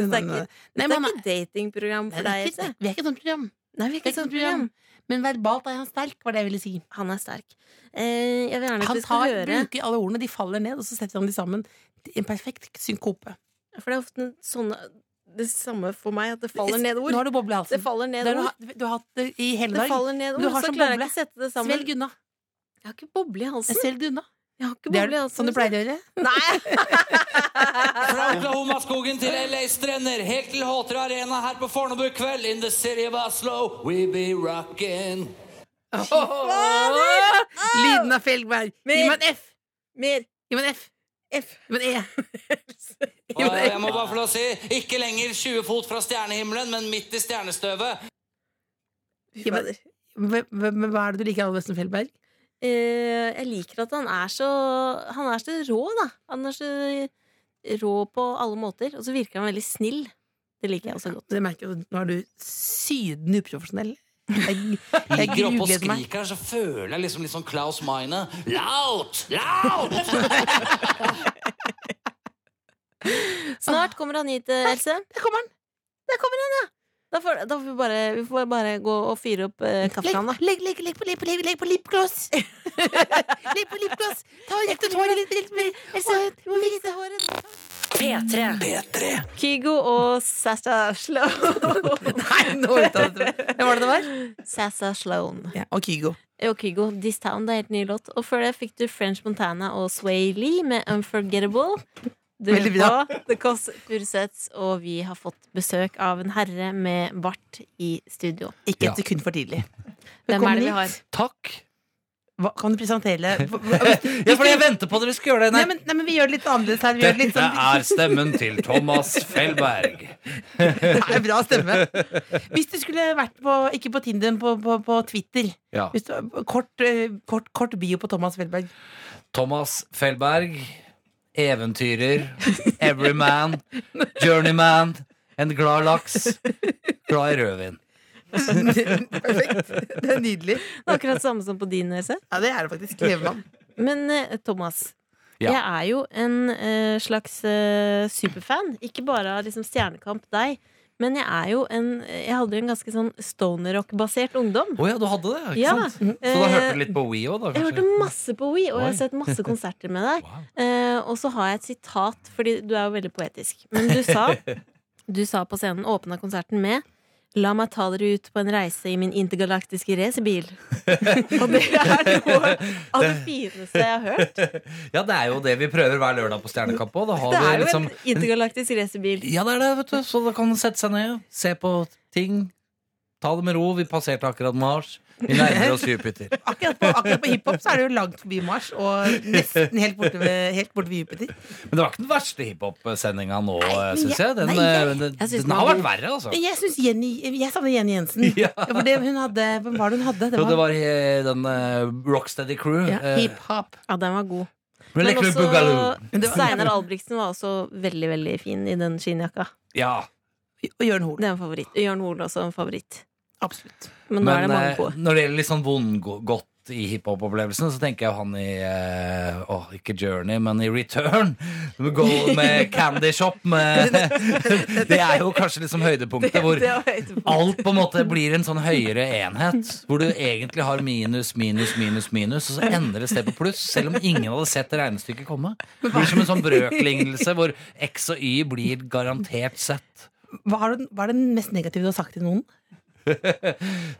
C: Det er
D: nei, nei,
C: ikke-
D: nei. Nei,
C: Det er
D: men han
C: ikke datingprogram
D: Nei,
C: for
D: det er
C: deg,
D: ikke-
C: Else.
D: Vi er ikke et sånt program.
C: Nei, vi er
D: Det er
C: ikke
D: ikke
C: sånn
D: sånt program.
C: program.
D: Men verbalt er han sterk, var det jeg ville si.
C: Han er sterk. Eh, jeg vil gjerne at
D: Han
C: vi skal
D: tar,
C: høre
D: bruker alle ordene, de faller ned, og så setter han de sammen. En perfekt synkope.
C: For det er ofte sånne Det samme for meg, at det faller ned
D: Nå
C: ord.
D: har du boble i halsen.
C: Det faller ned
D: Det har du
C: ord.
D: hatt- du har hatt det i hele
C: Det
D: dag.
C: faller ned
D: Du
C: ord,
D: har
C: så
D: sånn
C: klarer jeg
D: boble.
C: ikke å sette det sammen.
D: Svelg unna.
C: Jeg har ikke boble i halsen.
D: Svelg unna.
C: Jeg har ikke
D: Det er
C: boble, altså.
D: sånn du pleier å gjøre?
F: Fra Oklahomaskogen til LAs strender, helt til H3 Arena her på Fornebu i kveld. In the city of Oslo, we be rockin'.
D: Åh! Lyden av Felgberg. Gi meg en F!
C: Mer
D: Gi meg en F!
C: F.
D: Gi meg en E!
F: Og jeg må bare få lov å si, ikke lenger 20 fot fra stjernehimmelen, men midt i stjernestøvet.
D: Gi meg- Hvem- hvem- Hva er det du liker aller best med Felgberg?
C: Eh, jeg liker at han er så Han er så rå, da. Han er så rå på alle måter. Og så virker han veldig snill. Det liker jeg også godt.
D: Det merker jeg, Nå er du sydende uprofesjonell. Jeg, jeg
F: Ligger oppe og
D: grugleder meg.
F: skriker her, så føler jeg liksom litt sånn Klaus Meine. Loud! Loud!
D: Ah.
C: Snart kommer han hit, eh, Else.
D: Der kommer han!
C: Der kommer han, ja! Da får, da får vi, bare, vi får bare gå og fyre opp eh, kaffekranen, da.
D: Legg, legg, legg på, legg på, legg, legg på lipgloss! legg på lipgloss! Ta og gjett ut håret ditt litt mer.
C: Else, du må vise håret.
A: P3.
C: Kygo og Sasha Sloan.
D: Nei, nå uttalte du det. Hva var det det var?
C: Sasha Sloan.
D: Ja, og Kygo.
C: Og Kygo, This Town, det er helt ny låt. Og før det fikk du French Montana og Sway Lee med Unforgettable. Du
D: Veldig bra.
C: hører på The Kåss Furuseths, og vi har fått besøk av en herre med bart i studio.
D: Ikke
F: Ja.
D: et sekund for tidlig.
C: Hvem
D: Velkommen
C: er det vi har?
D: hit.
F: Takk.
D: Hva, kan du presentere
F: Ja, fordi jeg venter på at dere skulle gjøre det.
D: nei, men, nei, men vi gjør det litt annerledes her. Vi gjør det litt
F: Dette
D: sånn
F: er stemmen til Thomas Fellberg.
D: Det er en bra stemme. Hvis du skulle vært på, ikke på Tinder, men på, på, på Twitter
F: Ja.
D: Hvis du, kort, eh, kort, kort bio på Thomas Felberg.
F: Thomas Fellberg, eventyrer, everyman, journeyman, en glad laks, glad i rødvin.
D: Perfekt. Det er nydelig.
C: Det er akkurat samme som på din nese.
D: Ja, det er det faktisk. Klevemann.
C: Men eh, Thomas,
F: Ja.
C: jeg er jo en eh, slags eh, superfan. Ikke bare av liksom, Stjernekamp deg, men jeg er jo en Jeg hadde jo en ganske sånn stonerrock-basert ungdom.
F: Å ja, du hadde det, ikke
C: Ja,
F: sant? Så da hørte
C: eh,
F: du litt på We òg, da?
C: Jeg hørte masse på We, og jeg har
F: Oi.
C: sett masse konserter med deg.
F: Wow.
C: Eh, og så har jeg et sitat, fordi du er jo veldig poetisk. Men du sa, du sa på scenen, åpna konserten med La meg ta dere ut på en reise i min intergalaktiske racerbil. og det er noe av det fineste jeg har hørt.
F: Ja, det er jo det vi prøver hver lørdag på Stjernekamp òg. Da har
C: Det
F: vi
C: er jo
F: liksom
C: en intergalaktisk racerbil.
F: Ja, det er det, vet du. Så da kan du sette seg ned, se på ting. Ta det med ro. Vi passerte akkurat Mars. Vi nærmer oss Jupiter.
D: Akkurat på, akkurat på hiphop så er det jo langt forbi Mars, og nesten helt borte ved, helt borte ved Jupiter.
F: Men det var ikke den verste hiphop-sendinga nå,
D: men
F: syns
D: jeg-
F: jeg. Den, eh,
D: nei, jeg-
F: den,
C: jeg synes
F: den
C: den var
F: har vært
C: god.
F: verre, altså.
D: Men Jeg synes Jenny Jeg savner Jenny Jensen.
F: Ja.
D: Ja, for det hun hadde, Hvem var det hun hadde?
F: Jo, det var eh, den eh, Rocksteady Crew.
D: ja,
F: eh,
D: hiphop.
C: Ja, den var god.
F: men
C: Men
F: leker du
C: også
F: Boogaloo?
C: Steinar Albrigtsen var også veldig veldig fin i den skinnjakka.
F: Ja.
D: Og Jørn Hoel.
C: Det er en favoritt. Jørn Hoel er også en favoritt.
D: Absolutt.
C: Men nå
F: Men
C: er det mange
F: eh,
C: på.
F: når det gjelder litt sånn vondgodt i hiphop-opplevelsen, så tenker jeg jo han i eh, Åh, ikke Journey, men i Return. Gå med Candy Shop med Det er jo kanskje liksom høydepunktet hvor alt på en måte blir en sånn høyere enhet. Hvor du egentlig har minus, minus, minus, minus, og så ender det et sted på pluss. Selv om ingen hadde sett det regnestykket komme. Det blir som en sånn brøklignelse hvor X og Y blir garantert sett.
D: Hva, har du, hva er det mest negative du har sagt til noen?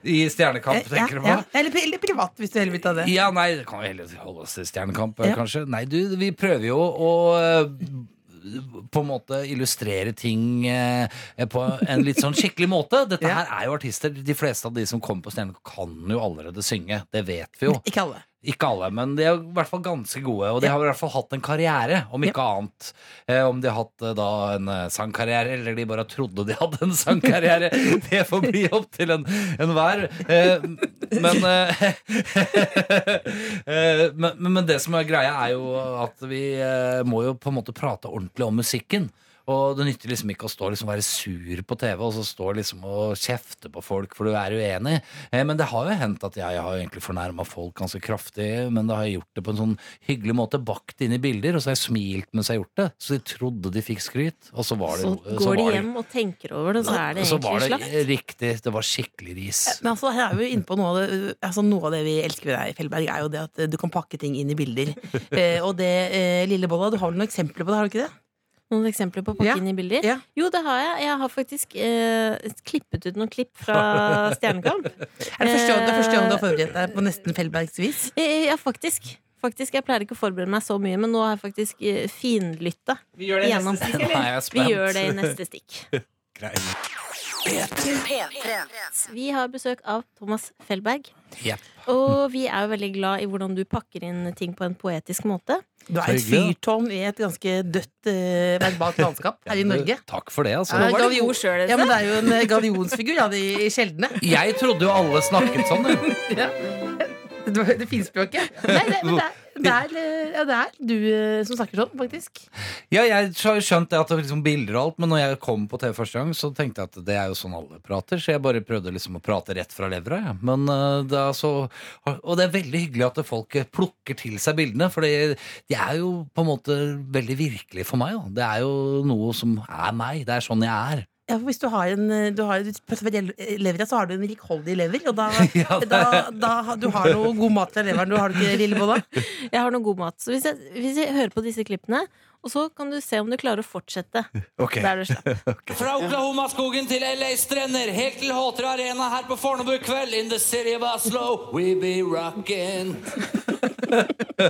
F: I Stjernekamp,
D: Eh,
F: tenker
D: ja,
F: du på?
D: ja. Eller, pri- eller privat, hvis du heller vil ta det.
F: Ja, nei, det kan vi heller holde oss til Stjernekamp,
D: Ja.
F: kanskje. Nei, du, vi prøver jo å eh, på en måte illustrere ting eh, på en litt sånn skikkelig måte. Dette
D: Ja.
F: her er jo artister. De fleste av de som kommer på Stjernekamp, kan jo allerede synge. Det vet vi jo.
D: Ikke alle.
F: Ikke alle, men de er i hvert fall ganske gode. Og de har i hvert fall hatt en karriere, om ikke annet. Eh, om de har hatt eh, da en eh, sangkarriere, eller de bare trodde de hadde en sangkarriere. Det får bli opp til en- enhver. En eh, men, eh, eh, men, men- men det som er greia, er jo at vi eh, må jo på en måte prate ordentlig om musikken. Og det nytter liksom ikke å stå liksom og være sur på TV og så stå liksom og kjefte på folk for du er uenig. Eh, Men det har jo hendt at jeg har egentlig fornærma folk ganske kraftig, men da har jeg gjort det på en sånn hyggelig måte, bakt inn i bilder, og så har jeg smilt mens jeg har gjort det. Så de trodde de fikk skryt, og så var det
C: Så
F: så
C: går de
F: var det-
C: hjem og tenker over det, og så er det
F: så var
C: egentlig
F: det
C: slakt.
F: riktig. Det var skikkelig ris.
D: Men altså, her er vi jo inne på noe av, det, altså, noe av det vi elsker ved deg, Fellberg, er jo det at eh, du kan pakke ting inn i bilder. Eh, og det, eh, Lille Bolla, du har vel noen eksempler på det, har du ikke det?
C: Noen eksempler på å pakke
D: Ja.
C: inn i bilder?
D: Ja.
C: Jo, det har jeg. Jeg har faktisk eh, klippet ut noen klipp fra Stjernekamp.
D: Er det første gang, det er første gang du har forberedt deg på nesten Fellbergs vis?
C: Eh, ja, faktisk. Faktisk, Jeg pleier ikke å forberede meg så mye, men nå har jeg faktisk eh, finlytta
D: Vi gjør det i
C: Gjennom.
D: neste stikk, eller?
F: Nei, jeg er
C: Vi
F: spent.
C: gjør det i neste stikk.
F: Greit.
C: Vi har besøk av Thomas Fellberg.
F: Jepp.
C: Og vi er jo veldig glad i hvordan du pakker inn ting på en poetisk måte.
D: Du er et
F: Hyggelig,
D: fyrtårn i et ganske dødt eh, verbalt landskap her i Norge.
F: Takk for det, altså.
D: Ja,
C: var du
D: gavion-
C: god selv, Else.
D: ja, men det er jo en eh, gavionsfigur, ja, de sjeldne.
F: Jeg trodde jo alle snakket sånn. jeg.
D: Det, det finspråket. Nei, det, men det er, det, er, eh, ja, det er du eh, som snakker sånn, faktisk.
F: Ja, jeg har jo skjønt det at det var liksom bilder og alt, men når jeg kom på TV første gang, så tenkte jeg at det er jo sånn alle prater, så jeg bare prøvde liksom å prate rett fra levra, jeg. Men eh, da så Og det er veldig hyggelig at folk plukker til seg bildene, for det, de er jo på en måte veldig virkelige for meg, da. Det er jo noe som er meg. Det er sånn jeg er.
D: Ja, for hvis du har en eh, du har, du prater med el- levra, så har du en rikholdig lever. Og da,
F: Ja, det-
D: da, da har- Du har noe god mat fra leveren, du har du ikke lille på da?
C: Jeg har noe god mat. Så hvis jeg, hvis jeg hører på disse klippene, og så kan du se om du klarer å fortsette
F: Ok.
C: der du slapp.
G: Fra Oklahoma-skogen til LAs strender, helt til H3 Arena her på Fornebu i kveld. In the city of Oslo, we be rockin'.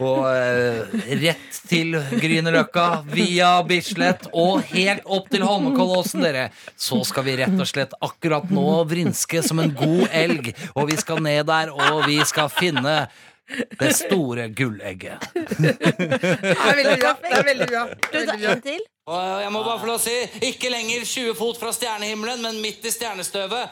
F: Og eh, rett til Grünerløkka via Bislett og helt opp til Holmenkollåsen, dere. Så skal vi rett og slett akkurat nå vrinske som en god elg. Og vi skal ned der, og vi skal finne det store gullegget.
D: Det er veldig bra. Det er veldig bra.
C: Prøv da en til.
G: Og eh, jeg må bare få lov å si, ikke lenger 20 fot fra stjernehimmelen, men midt i stjernestøvet.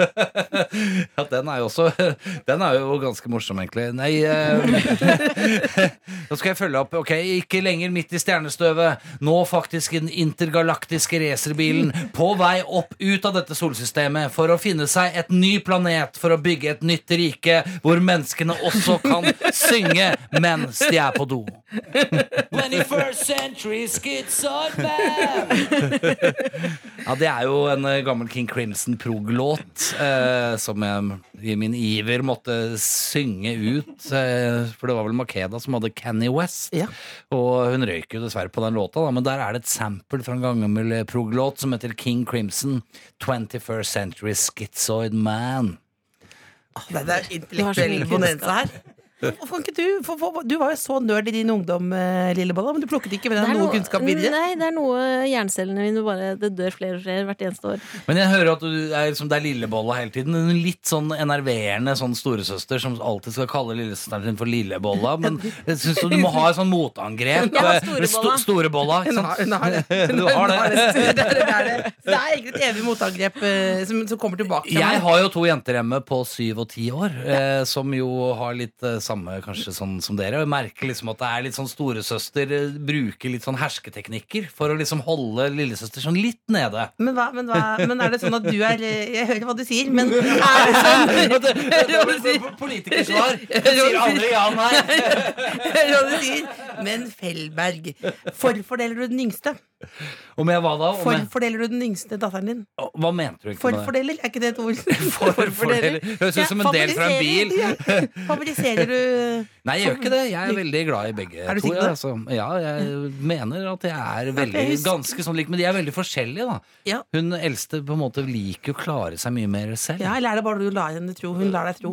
F: Ja, den er jo også Den er jo ganske morsom, egentlig. Nei eh, Nå skal jeg følge opp. Ok, ikke lenger midt i stjernestøvet. Nå faktisk i den intergalaktiske racerbilen på vei opp ut av dette solsystemet for å finne seg et ny planet for å bygge et nytt rike hvor menneskene også kan synge mens de er på do.
G: 21st century skits are bad.
F: Ja, Det er jo en eh, gammel King Crimson-prog-låt eh, som jeg i min iver måtte synge ut. Eh, for det var vel Makeda som hadde Kenny West.
D: Ja.
F: Og hun røyk jo dessverre på den låta, da, men der er det et sample fra en gammel eh, prog-låt som heter King Crimson 21st Century Schizoid Man.
D: Det, det er
C: Du har så mye
D: intellektuell bonanza her. Hvorfor kan ikke du, for, for, du var jo så nerd i din ungdom, eh, Lillebolla, men du plukket ikke med deg noe kunnskap videre.
C: nei, det er noe jerncellene mine bare Det dør flere og flere hvert eneste år.
F: Men jeg hører at du er, liksom, det er lillebolla hele tiden. En litt sånn enerverende sånn storesøster som alltid skal kalle lillesøsteren sin for lillebolla. Men jeg syns du må ha et sånn motangrep.
C: Ja,
F: eh,
C: storebolla.
F: med sto- storebolla. ikke
D: Hun
F: sant?
D: har, hun har det.
F: Du har
D: Hun
F: det.
D: Det, det, er det, det, er det. Så det er egentlig et evig motangrep eh, som, som kommer tilbake. til
F: Jeg
D: meg.
F: har jo to jenter hjemme på syv og ti år, eh, som jo har litt eh, samme kanskje sånn som dere. Og jeg merker liksom at det er litt sånn storesøster eh, bruker litt sånn hersketeknikker for å liksom holde lillesøster sånn litt nede.
D: men, hva, men, hva, men er det sånn at du er eh, Jeg hører hva du sier, men er det sånn? Hører hva du sier?
F: Politikersvar.
D: Jeg sier aldri
F: ja, nei.
D: Hører hva du sier? Men Fellberg, forfordeler du den yngste?
F: Om jeg hva da? Om jeg,
D: Forfordeler du den yngste datteren din?
F: Å, hva mente du ikke med det?
D: Forfordeler, er ikke det et ord?
F: Forfordeler. Høres ut som en del fra en bil.
D: Ja, favoriserer- ja. Favoriserer du
F: Nei, jeg gjør ikke det. Jeg er veldig glad i begge
D: Er du Mm.
F: to.
D: sikker på
F: jeg,
D: det?
F: altså. Ja, jeg mener at jeg er veldig,
D: jeg husker-
F: ganske sånn lik, men de er veldig forskjellige, da.
D: Ja.
F: Hun eldste på en måte liker å klare seg mye mer selv.
D: Ja, eller er det bare du lar henne tro? Hun lar deg tro.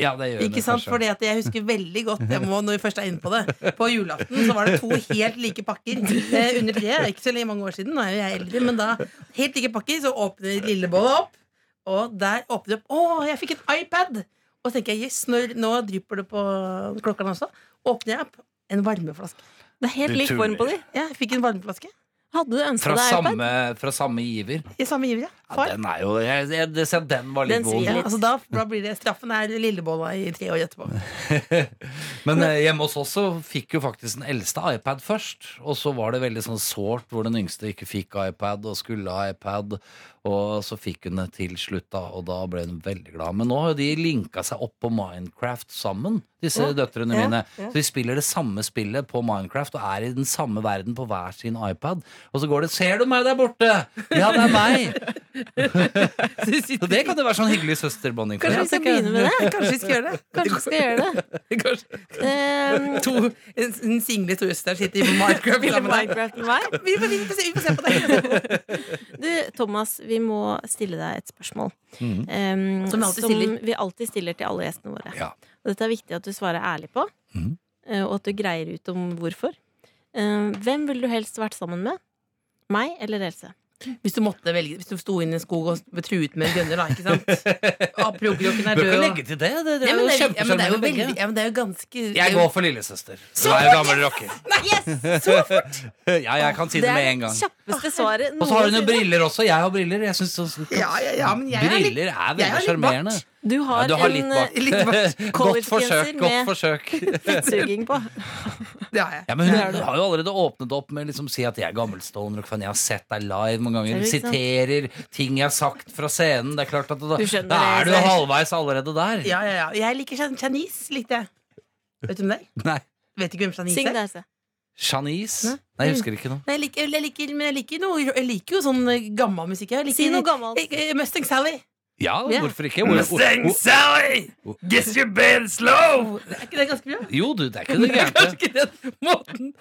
F: Ja, det gjør
D: Ikke
F: det
D: sant?
F: kanskje.
D: Fordi at jeg husker veldig godt jeg må, Når vi først er inne på det På julaften så var det to helt like pakker eh, Under tre, ikke så lenge mange år siden Nå er jo jeg eldre, men da Helt like pakker, så åpner lillebolla opp Og der åpner det opp Åh, jeg fikk en iPad! Og så tenker jeg, yes, nå, nå drypper det på klokken også Åpner jeg opp en varmeflaske
C: Det er helt
F: Du
C: lik form på de.
D: Ja, jeg fikk en varmeflaske
C: Hadde du ønska
F: Fra
C: deg iPad?
F: samme, fra samme giver.
D: I samme giver, ja
F: Ja,
D: Far
F: den er jo jeg, jeg, det- se, Den var litt
C: Den
F: vond.
C: svir
D: ja,
C: litt.
D: altså da, da blir det straffen er lillebolla i tre år etterpå
F: Men eh, hjemme hos oss så fikk jo faktisk den eldste iPad først. Og så var det veldig sånn sårt hvor den yngste ikke fikk iPad og skulle ha iPad. Og så fikk hun det til slutt, da, og da ble hun veldig glad. Men nå har jo de linka seg opp på Minecraft sammen, disse døtrene mine. Så de spiller det samme spillet på Minecraft og er i den samme verden på hver sin iPad. Og så går det 'Ser du meg der borte?' Ja, det er meg! Så det kan jo være sånn hyggelig søsterbonding. for
C: Kanskje vi skal
F: dere.
C: begynne med det?
D: Kanskje vi skal gjøre det
C: Kanskje vi skal gjøre det?
D: Kanskje
C: Ehm,
D: to, en, en single toaster sitter i Minecraft
C: Ville
D: sammen der.
C: Minecraft med meg?
D: Vi får, vi, får se, vi får se på det.
C: Du, Thomas, vi må stille deg et spørsmål. Ehm,
D: Som vi alltid stiller.
C: vi alltid stiller til alle gjestene våre.
F: Mhm. Ja.
C: Og dette er viktig at du svarer ærlig på,
F: Mhm.
C: eh, og at du greier ut om hvorfor. Eh, Hvem ville du helst vært sammen med? Meg eller Else?
D: Hvis du måtte velge Hvis du sto inne i en skog og ble truet med en gunner, da, ikke sant? Apelokroken er død.
F: Bør ikke
D: og-
F: legge til det. Det, det
D: Ja,
F: er
D: men
F: jo
D: det er- ja, men det er jo
F: kjempesjarmerende begge.
D: veldig- ja, men det er jo ganske
F: Jeg går for lillesøster. Du er jo gammel rocker. Ja, jeg kan si det med en gang.
C: kjappeste svaret
F: Og så har hun jo
C: noensinne.
F: briller også. Jeg har briller. Jeg synes sånn-
D: Ja, ja, ja, men jeg er litt-
F: briller er
D: jeg er
F: veldig
D: litt
F: sjarmerende.
C: Du har,
F: Ja, du har litt
C: en
F: bart.
C: eh,
D: Litt bart.
F: Godt
C: collegegenser
F: forsøk. godt
C: med-
F: forsøk
C: fettsuging på.
D: Det har jeg.
F: ja, men Hun har jo allerede åpnet opp med å liksom, si at jeg er gammelstående rock-fan. Jeg har sett deg live mange
C: Er
F: ganger.
C: det ikke sant?
F: Siterer ting jeg har sagt fra scenen. Det er klart at Da,
C: Du skjønner
F: da er
C: det,
F: du jo
C: Else.
F: halvveis allerede der.
D: Ja, ja, ja. Jeg liker Chan- Chanice, likte jeg. Vet du hvem det er?
F: Nei,
D: Vet ikke hvem Chanice
C: Syng
D: er?
C: det, Else.
F: Janice? Nei, jeg husker ikke noe.
D: Nei, jeg liker, jeg, liker, men jeg, liker noe, jeg liker jo sånn eh, gammel musikk. Jeg liker,
C: Si noe gammelt.
D: Jeg- jeg- Mustang Sally.
F: Ja,
C: Ja.
F: hvorfor ikke? Hvor- hvor-
D: Sally!
F: Guess you been slow!
D: Oh, Er ikke det ganske bra?
F: Jo, du, det er ikke det gærne.
D: ikke den måten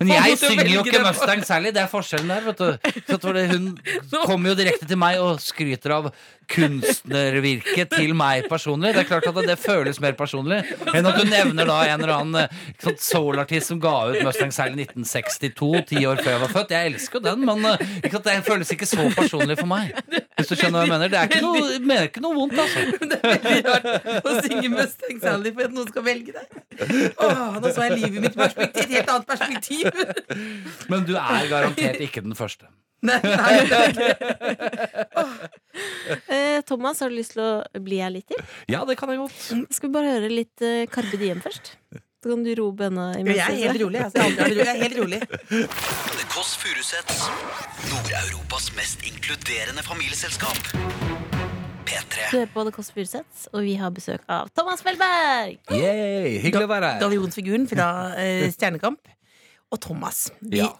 F: Men jeg synger jo ikke Mustang Sally, det er forskjellen der. vet du Så at var det Hun kommer jo direkte til meg og skryter av kunstnervirket til meg personlig. Det er klart at det føles mer personlig enn at du nevner da en eller annen eh, ikke sant, soul-artist som ga ut Mustang Sally 1962, ti år før jeg var født. Jeg elsker jo den, men eh, ikke sant, det føles ikke så personlig for meg. Hvis du skjønner hva jeg mener. Det er ikke noe, jeg mener ikke noe vondt, altså.
D: Det er veldig rart å synge Mustang Sally for at noen skal velge deg. Åh, nå så jeg livet mitt i perspektiv, et helt annet perspektiv.
F: Men du er garantert ikke den første.
D: Nei, nei,
C: Eh, Thomas, har du lyst til å bli her litt til?
F: Ja, det kan jeg godt.
C: Skal vi bare høre litt eh, Carpe Diem først? Så kan du roe bena imens.
D: Jeg er helt
C: Else.
D: rolig. Altså, jeg er aldri rolig, jeg er helt rolig.
B: The Kåss Furuseths. Nord-Europas mest inkluderende familieselskap.
C: Du
B: P3.
C: hører på The Kåss Furuseths, og vi har besøk av Thomas Felberg!
F: Yay, hyggelig å være her.
D: Dolly Jons-figuren fra eh, Stjernekamp. Og Thomas. Vi,
F: Ja.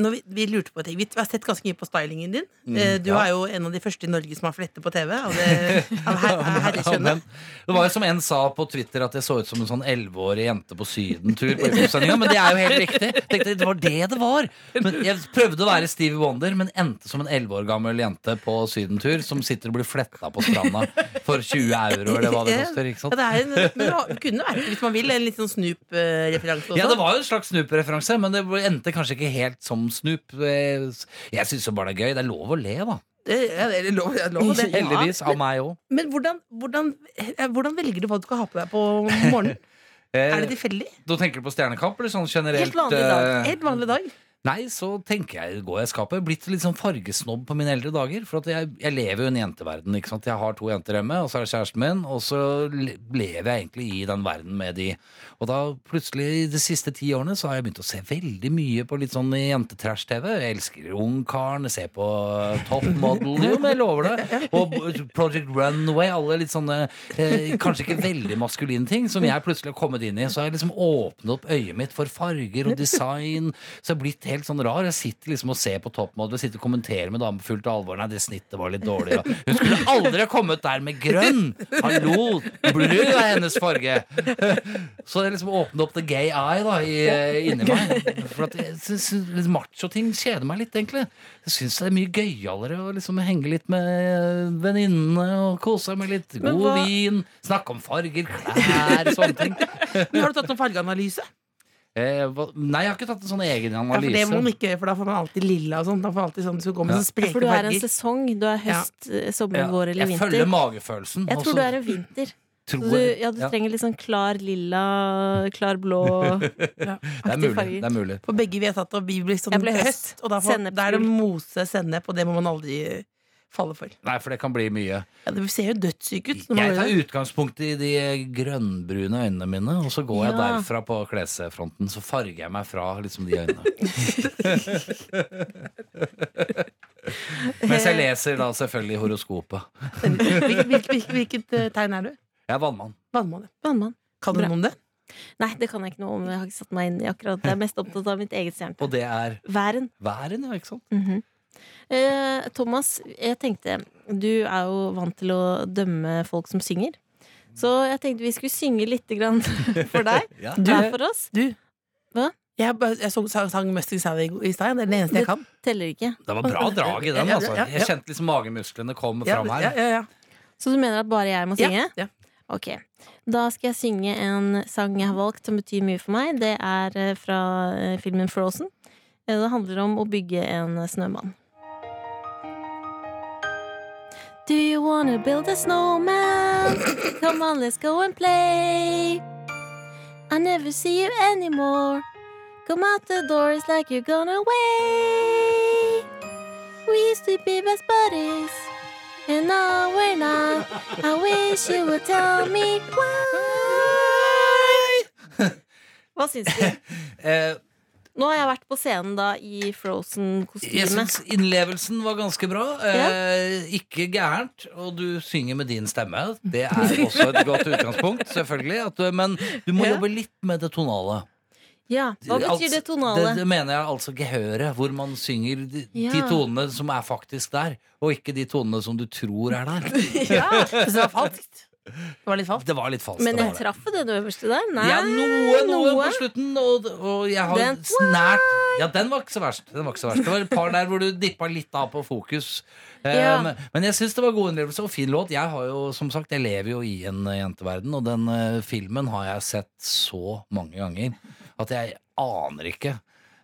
D: når vi, vi lurte på ting. Vi har sett ganske mye på stylingen din. Eh, du
F: Mm, ja.
D: er jo en av de første i Norge som har flette på TV. Av, det, av her, av herrekjønnet.
F: Det var jo som en sa på Twitter at jeg så ut som en sånn 11-årig jente på sydentur på Idrettsendinga, men det er jo helt riktig. Jeg Tenkte, det var det det var. Men jeg prøvde å være Stevie Wonder, men endte som en 11 år gammel jente på sydentur som sitter og blir fletta på stranda for 20 euro eller hva det koster. ikke
D: Ja,
F: sant?
D: det er en, men det kunne vært, hvis man vil, en litt sånn Snoop-referanse også.
F: Ja, det var jo en slags Snoop-referanse, men det endte kanskje ikke helt som Snoop. Jeg syns jo bare det er gøy. Det er lov å le, da.
D: Det- ja, det er lov, det er lov, det.
F: Heldigvis. Av meg òg.
D: Men hvordan, hvordan, eh, hvordan velger du hva du skal ha på deg på morgenen? Er det tilfeldig?
F: Eh, Da tenker du på Stjernekamp eller sånn generelt?
D: Helt vanlig dag.
F: eh,
D: Helt vanlig dag.
F: Nei, så tenker jeg går jeg i skapet. Blitt litt sånn fargesnobb på mine eldre dager. For at jeg, jeg lever jo i en jenteverden. ikke sant? Jeg har to jenter hjemme, og så er det kjæresten min. Og så le- lever jeg egentlig i den verden med de. Og da plutselig, de siste ti årene, så har jeg begynt å se veldig mye på litt sånn jentetrash-TV. Jeg elsker Ungkaren, jeg ser på Top Model, jo, men jeg lover det. Og B- Project Runway, alle litt sånne eh, kanskje ikke veldig maskuline ting som jeg plutselig har kommet inn i. Så har jeg liksom åpnet opp øyet mitt for farger og design. Så jeg har blitt helt sånn rar. Jeg sitter liksom og ser på toppmodell og sitter og kommenterer med damer fullt av alvor. Nei, det snittet var litt dårlig. Og hun skulle aldri ha kommet der med grønn! Hallo! Blå er hennes farge. Så jeg liksom åpnet opp the gay eye da i, eh, inni meg. For at jeg synes litt macho-ting kjeder meg litt, egentlig. Jeg syns det er mye gøyalere å liksom henge litt med venninnene og kose seg med litt
C: Men
F: god
C: hva-
F: vin, snakke om farger, klær, sånne ting.
D: Men har du tatt noen fargeanalyse?
F: Eh, hva- nei, jeg har ikke tatt en sånn egen
D: Ja, for det må man
F: analyse.
D: ikke gjøre, for da får man alltid lilla og sånn. Da får man alltid sånn, så kommer
F: Ja.
D: ja. sånn spreke
C: For du er en
D: farger.
C: sesong. Du er høst, eh, sommer, vår eller
F: jeg
C: vinter.
F: følger magefølelsen.
C: Jeg
F: og
C: tror
F: så
C: du er en vinter. Så
F: tror
C: du,
F: jeg-
C: ja, du
F: ja,
C: trenger litt sånn klar lilla, klar blå
F: det er
C: aktig
F: mulig. Det er
C: farger.
F: mulig.
D: For begge vet at vi blir sånn
C: Jeg ble høst.
D: høst, og da, får,
C: Sennep.
D: da er det mose sennep, og det må man aldri falle for.
F: Nei, for det kan bli mye.
D: Ja, det ser jo dødssyk ut. Når man
F: Jeg
D: gjør
F: tar
D: det.
F: utgangspunkt i de grønnbrune øynene mine, og så går jeg
C: Ja.
F: derfra på klesfronten. Så farger jeg meg fra liksom de øynene. Mens jeg leser da selvfølgelig horoskopet.
D: Hvilket, hvilket, hvilket, hvilket eh, tegn er du?
F: Jeg er vannmann.
D: Vannmåne.
C: Vannmann.
D: Kan du
C: Bra.
D: noe om det?
C: Nei, det kan jeg ikke noe om. Jeg har ikke satt meg inn i akkurat det. Jeg er mest opptatt av mitt eget stjerne.
F: Og det er
C: Væren.
F: væren, ja, ikke sant?
C: Mhm. eh, Thomas, jeg tenkte Du er jo vant til å dømme folk som synger. Så jeg tenkte vi skulle synge litt grann for deg.
F: Ja.
C: Hver for oss.
D: Du?
C: Hva?
D: Jeg, bare- jeg så, sang, sang Mustang Sally i- i stad. Det er det eneste jeg kan.
C: Teller ikke.
F: Det var bra drag i den,
D: Ja,
F: altså.
D: ja, ja.
F: Jeg kjente liksom magemusklene kom
D: Ja,
F: fram
D: ja,
F: her.
D: ja, ja.
C: Så du mener at bare jeg må synge?
D: Ja, ja.
C: Ok. Da skal jeg synge en sang jeg har valgt som betyr mye for meg. Det er eh, fra eh, filmen Frozen. Eh, Det handler om å bygge en eh, snømann. Do you wanna build a snowman? Come on, let's go and play. I never see you anymore. Come out the door, it's like you're gone away. We used to be best buddies, and now we're not. I wish you would tell me why. Hva syns du?
F: Eh,
C: Nå har jeg vært på scenen da i
F: jeg
C: Frozen-kostyme.
F: syns sånn innlevelsen var ganske bra. Eh, ikke gærent. Og du synger med din stemme. Det er også et godt utgangspunkt, selvfølgelig. At du, men du må
C: Ja.
F: jobbe litt med det tonale.
C: Ja, Hva betyr
F: Altså,
C: det
F: Det,
C: tonale?
F: det mener jeg altså gehøret, hvor man synger de, de
C: Ja.
F: tonene som er faktisk der, og ikke de tonene som du tror er der.
D: Ja, så det var falskt. Det var litt falskt.
F: Det var litt falskt.
C: Men
F: det
C: jeg
F: var det.
C: traff jo den øverste der. Nei,
F: ja, noe, noe,
C: noe.
F: på slutten, og, og jeg har
C: Den-
F: snært Ja, den var ikke så verst. Den var ikke så verst. Det var et par der hvor du dippa litt av på fokus.
C: Ja.
F: Um, men jeg syns det var god innlevelse og fin låt. Jeg har jo, som sagt, jeg lever jo i en eh, jenteverden, og den eh, filmen har jeg sett så mange ganger at jeg aner ikke.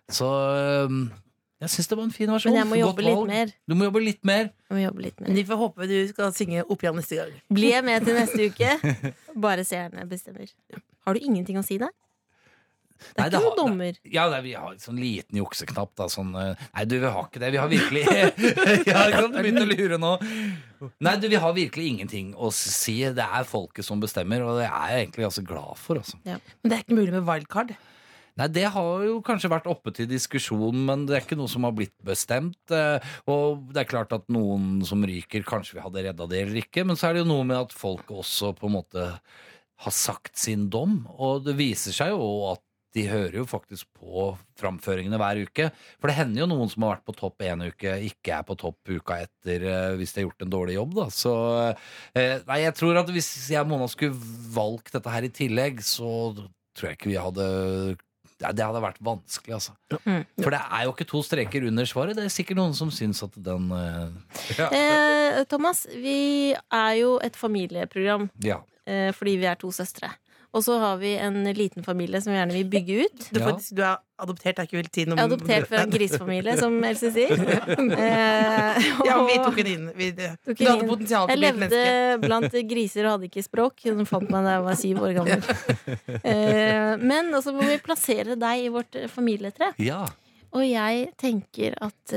F: Så um, jeg syns det var en fin versjon.
C: Men jeg må
F: Godt
C: jobbe litt
F: valg.
C: mer.
F: Du må jobbe litt mer.
C: Jeg må jobbe litt mer.
D: Men vi får håpe du skal synge opp igjen neste gang.
C: Blir jeg med til neste uke? Bare seerne bestemmer. Har du ingenting å si der? Det er
F: Nei,
C: ikke
F: har-
C: noen dommer.
F: Ja, det er, vi har en sånn liten jukseknapp. Da, sånn, eh, nei, du, vi har ikke det. Vi har virkelig Jeg har ikke sant, begynt å lure nå. Nei, du, vi har virkelig ingenting å si. Det er folket som bestemmer, og det er jeg egentlig ganske glad for. Altså.
D: Men det er ikke mulig med wildcard.
F: Nei, Det har jo kanskje vært oppe til diskusjon, men det er ikke noe som har blitt bestemt. eh, Og det er klart at noen som ryker, kanskje vi hadde redda det eller ikke, men så er det jo noe med at folk også på en måte har sagt sin dom, og det viser seg jo at de hører jo faktisk på framføringene hver uke. For det hender jo noen som har vært på topp én uke, ikke er på topp uka etter eh, hvis de har gjort en dårlig jobb, da. Så eh, Nei, jeg tror at hvis jeg og Mona skulle valgt dette her i tillegg, så tror jeg ikke vi hadde ja, det hadde vært vanskelig, altså.
C: Mm.
F: For det er jo ikke to streker under svaret. Det er sikkert noen som syns at den eh, ja.
C: Eh, Thomas, vi er jo et familieprogram
F: ja.
C: eh, fordi vi er to søstre. Og så har vi en liten familie som vi gjerne vil bygge ut.
D: Du,
F: Ja.
D: får, du er adoptert, det er ikke vel tid om
C: Jeg er adoptert fra en grisefamilie, som Else sier. Eh,
D: Ja,
C: og
D: vi tok henne inn. Vi, du
C: Tok henne
D: hadde
C: inn. jeg
D: potensial til å bli et
C: levde
D: menneske.
C: blant griser og hadde ikke språk. Hun fant meg da jeg var syv år gammel. Eh, men også må vi plassere deg i vårt eh, familietre.
F: ja.
C: Og jeg tenker at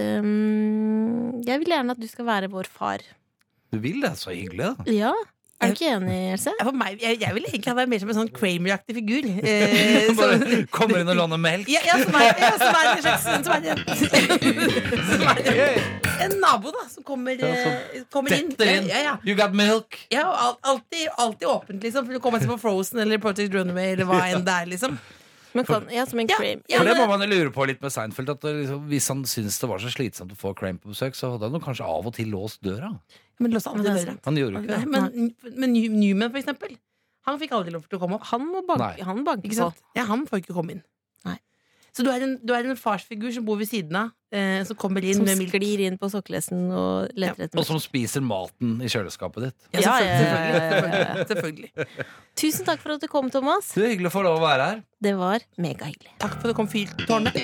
C: ehm, Jeg vil gjerne at du skal være vår far.
F: Du vil det? Så hyggelig. da.
C: Ja? Er du ikke enig, Else?
D: Ja, For meg, jeg, jeg ville egentlig ha vært mer som en sånn Kramer-aktig figur. Eh, som,
F: Bare kommer inn og lander melk.
D: ja, ja, som er, ja, som er en slags som er en, som er en, en nabo, da, som kommer, eh, kommer inn.
F: Detter inn.
D: Ja, ja, ja.
F: You got milk.
D: Ja, og al- alltid, alltid åpent, liksom. For du kommer seg på Frozen eller Project Runway eller hva enn det er, liksom.
C: Men kan, ja, som en
D: Ja,
C: cream.
D: ja.
F: For det
D: men-
F: må man jo lure på litt med Seinfeld. At det liksom, hvis han syntes det var så slitsomt å få Crane på besøk, så hadde han jo kanskje av og til låst døra.
D: Men lås aldri
C: Men det er
D: døra.
F: Han gjorde jo ikke det.
D: Nei, Men, men New- Newman, for eksempel, han fikk aldri lov til å komme opp.
C: Han må banke,
F: Nei.
C: han banker
D: Ikke
C: på.
D: sant? Ja, han får ikke komme inn.
C: Nei.
D: Så du er, en, du er en farsfigur som bor ved siden av, eh, som kommer inn
C: Som
D: med milk.
C: sklir inn på sokkelesten og leter etter
F: Og
C: meg.
F: som spiser maten i kjøleskapet ditt.
D: Ja,
C: Ja,
D: selvfølgelig.
C: ja, ja, ja, ja, ja.
D: selvfølgelig.
C: Tusen takk for at du kom, Thomas.
F: Det er hyggelig å få lov å være her.
C: Det var megahyggelig.
D: Takk for at du kom, fyrtårnet.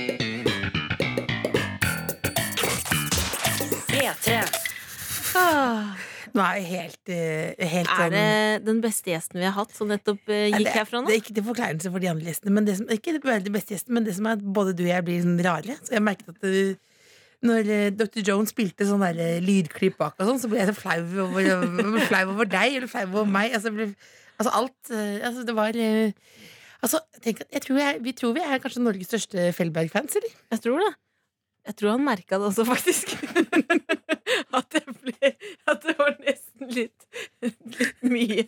A: P3.
D: Nå er jeg helt, eh, helt
C: Ah, Er
D: sånn-
C: det den beste gjesten vi har hatt, som nettopp eh,
D: Nei,
C: gikk
D: det-
C: herfra
D: Det
C: nå?
D: er ikke til forkleinelse for de andre gjestene. Men det som, ikke det bare de beste gjestene, men det som er at både du og jeg blir sånn rare. Så jeg merket at du, når eh, Dr. Jones spilte sånn der eh, lydklipp bak, og sånn, så ble jeg så flau over, jeg ble flau over deg eller flau over meg. Altså, jeg ble, altså alt eh, Altså, det var eh, Altså, tenk, at- jeg tror jeg, Vi tror vi er kanskje Norges største Fellberg-fans, eller?
C: Jeg tror det. Jeg tror han merka det også, faktisk. at, det ble, at det var nesten litt, litt mye.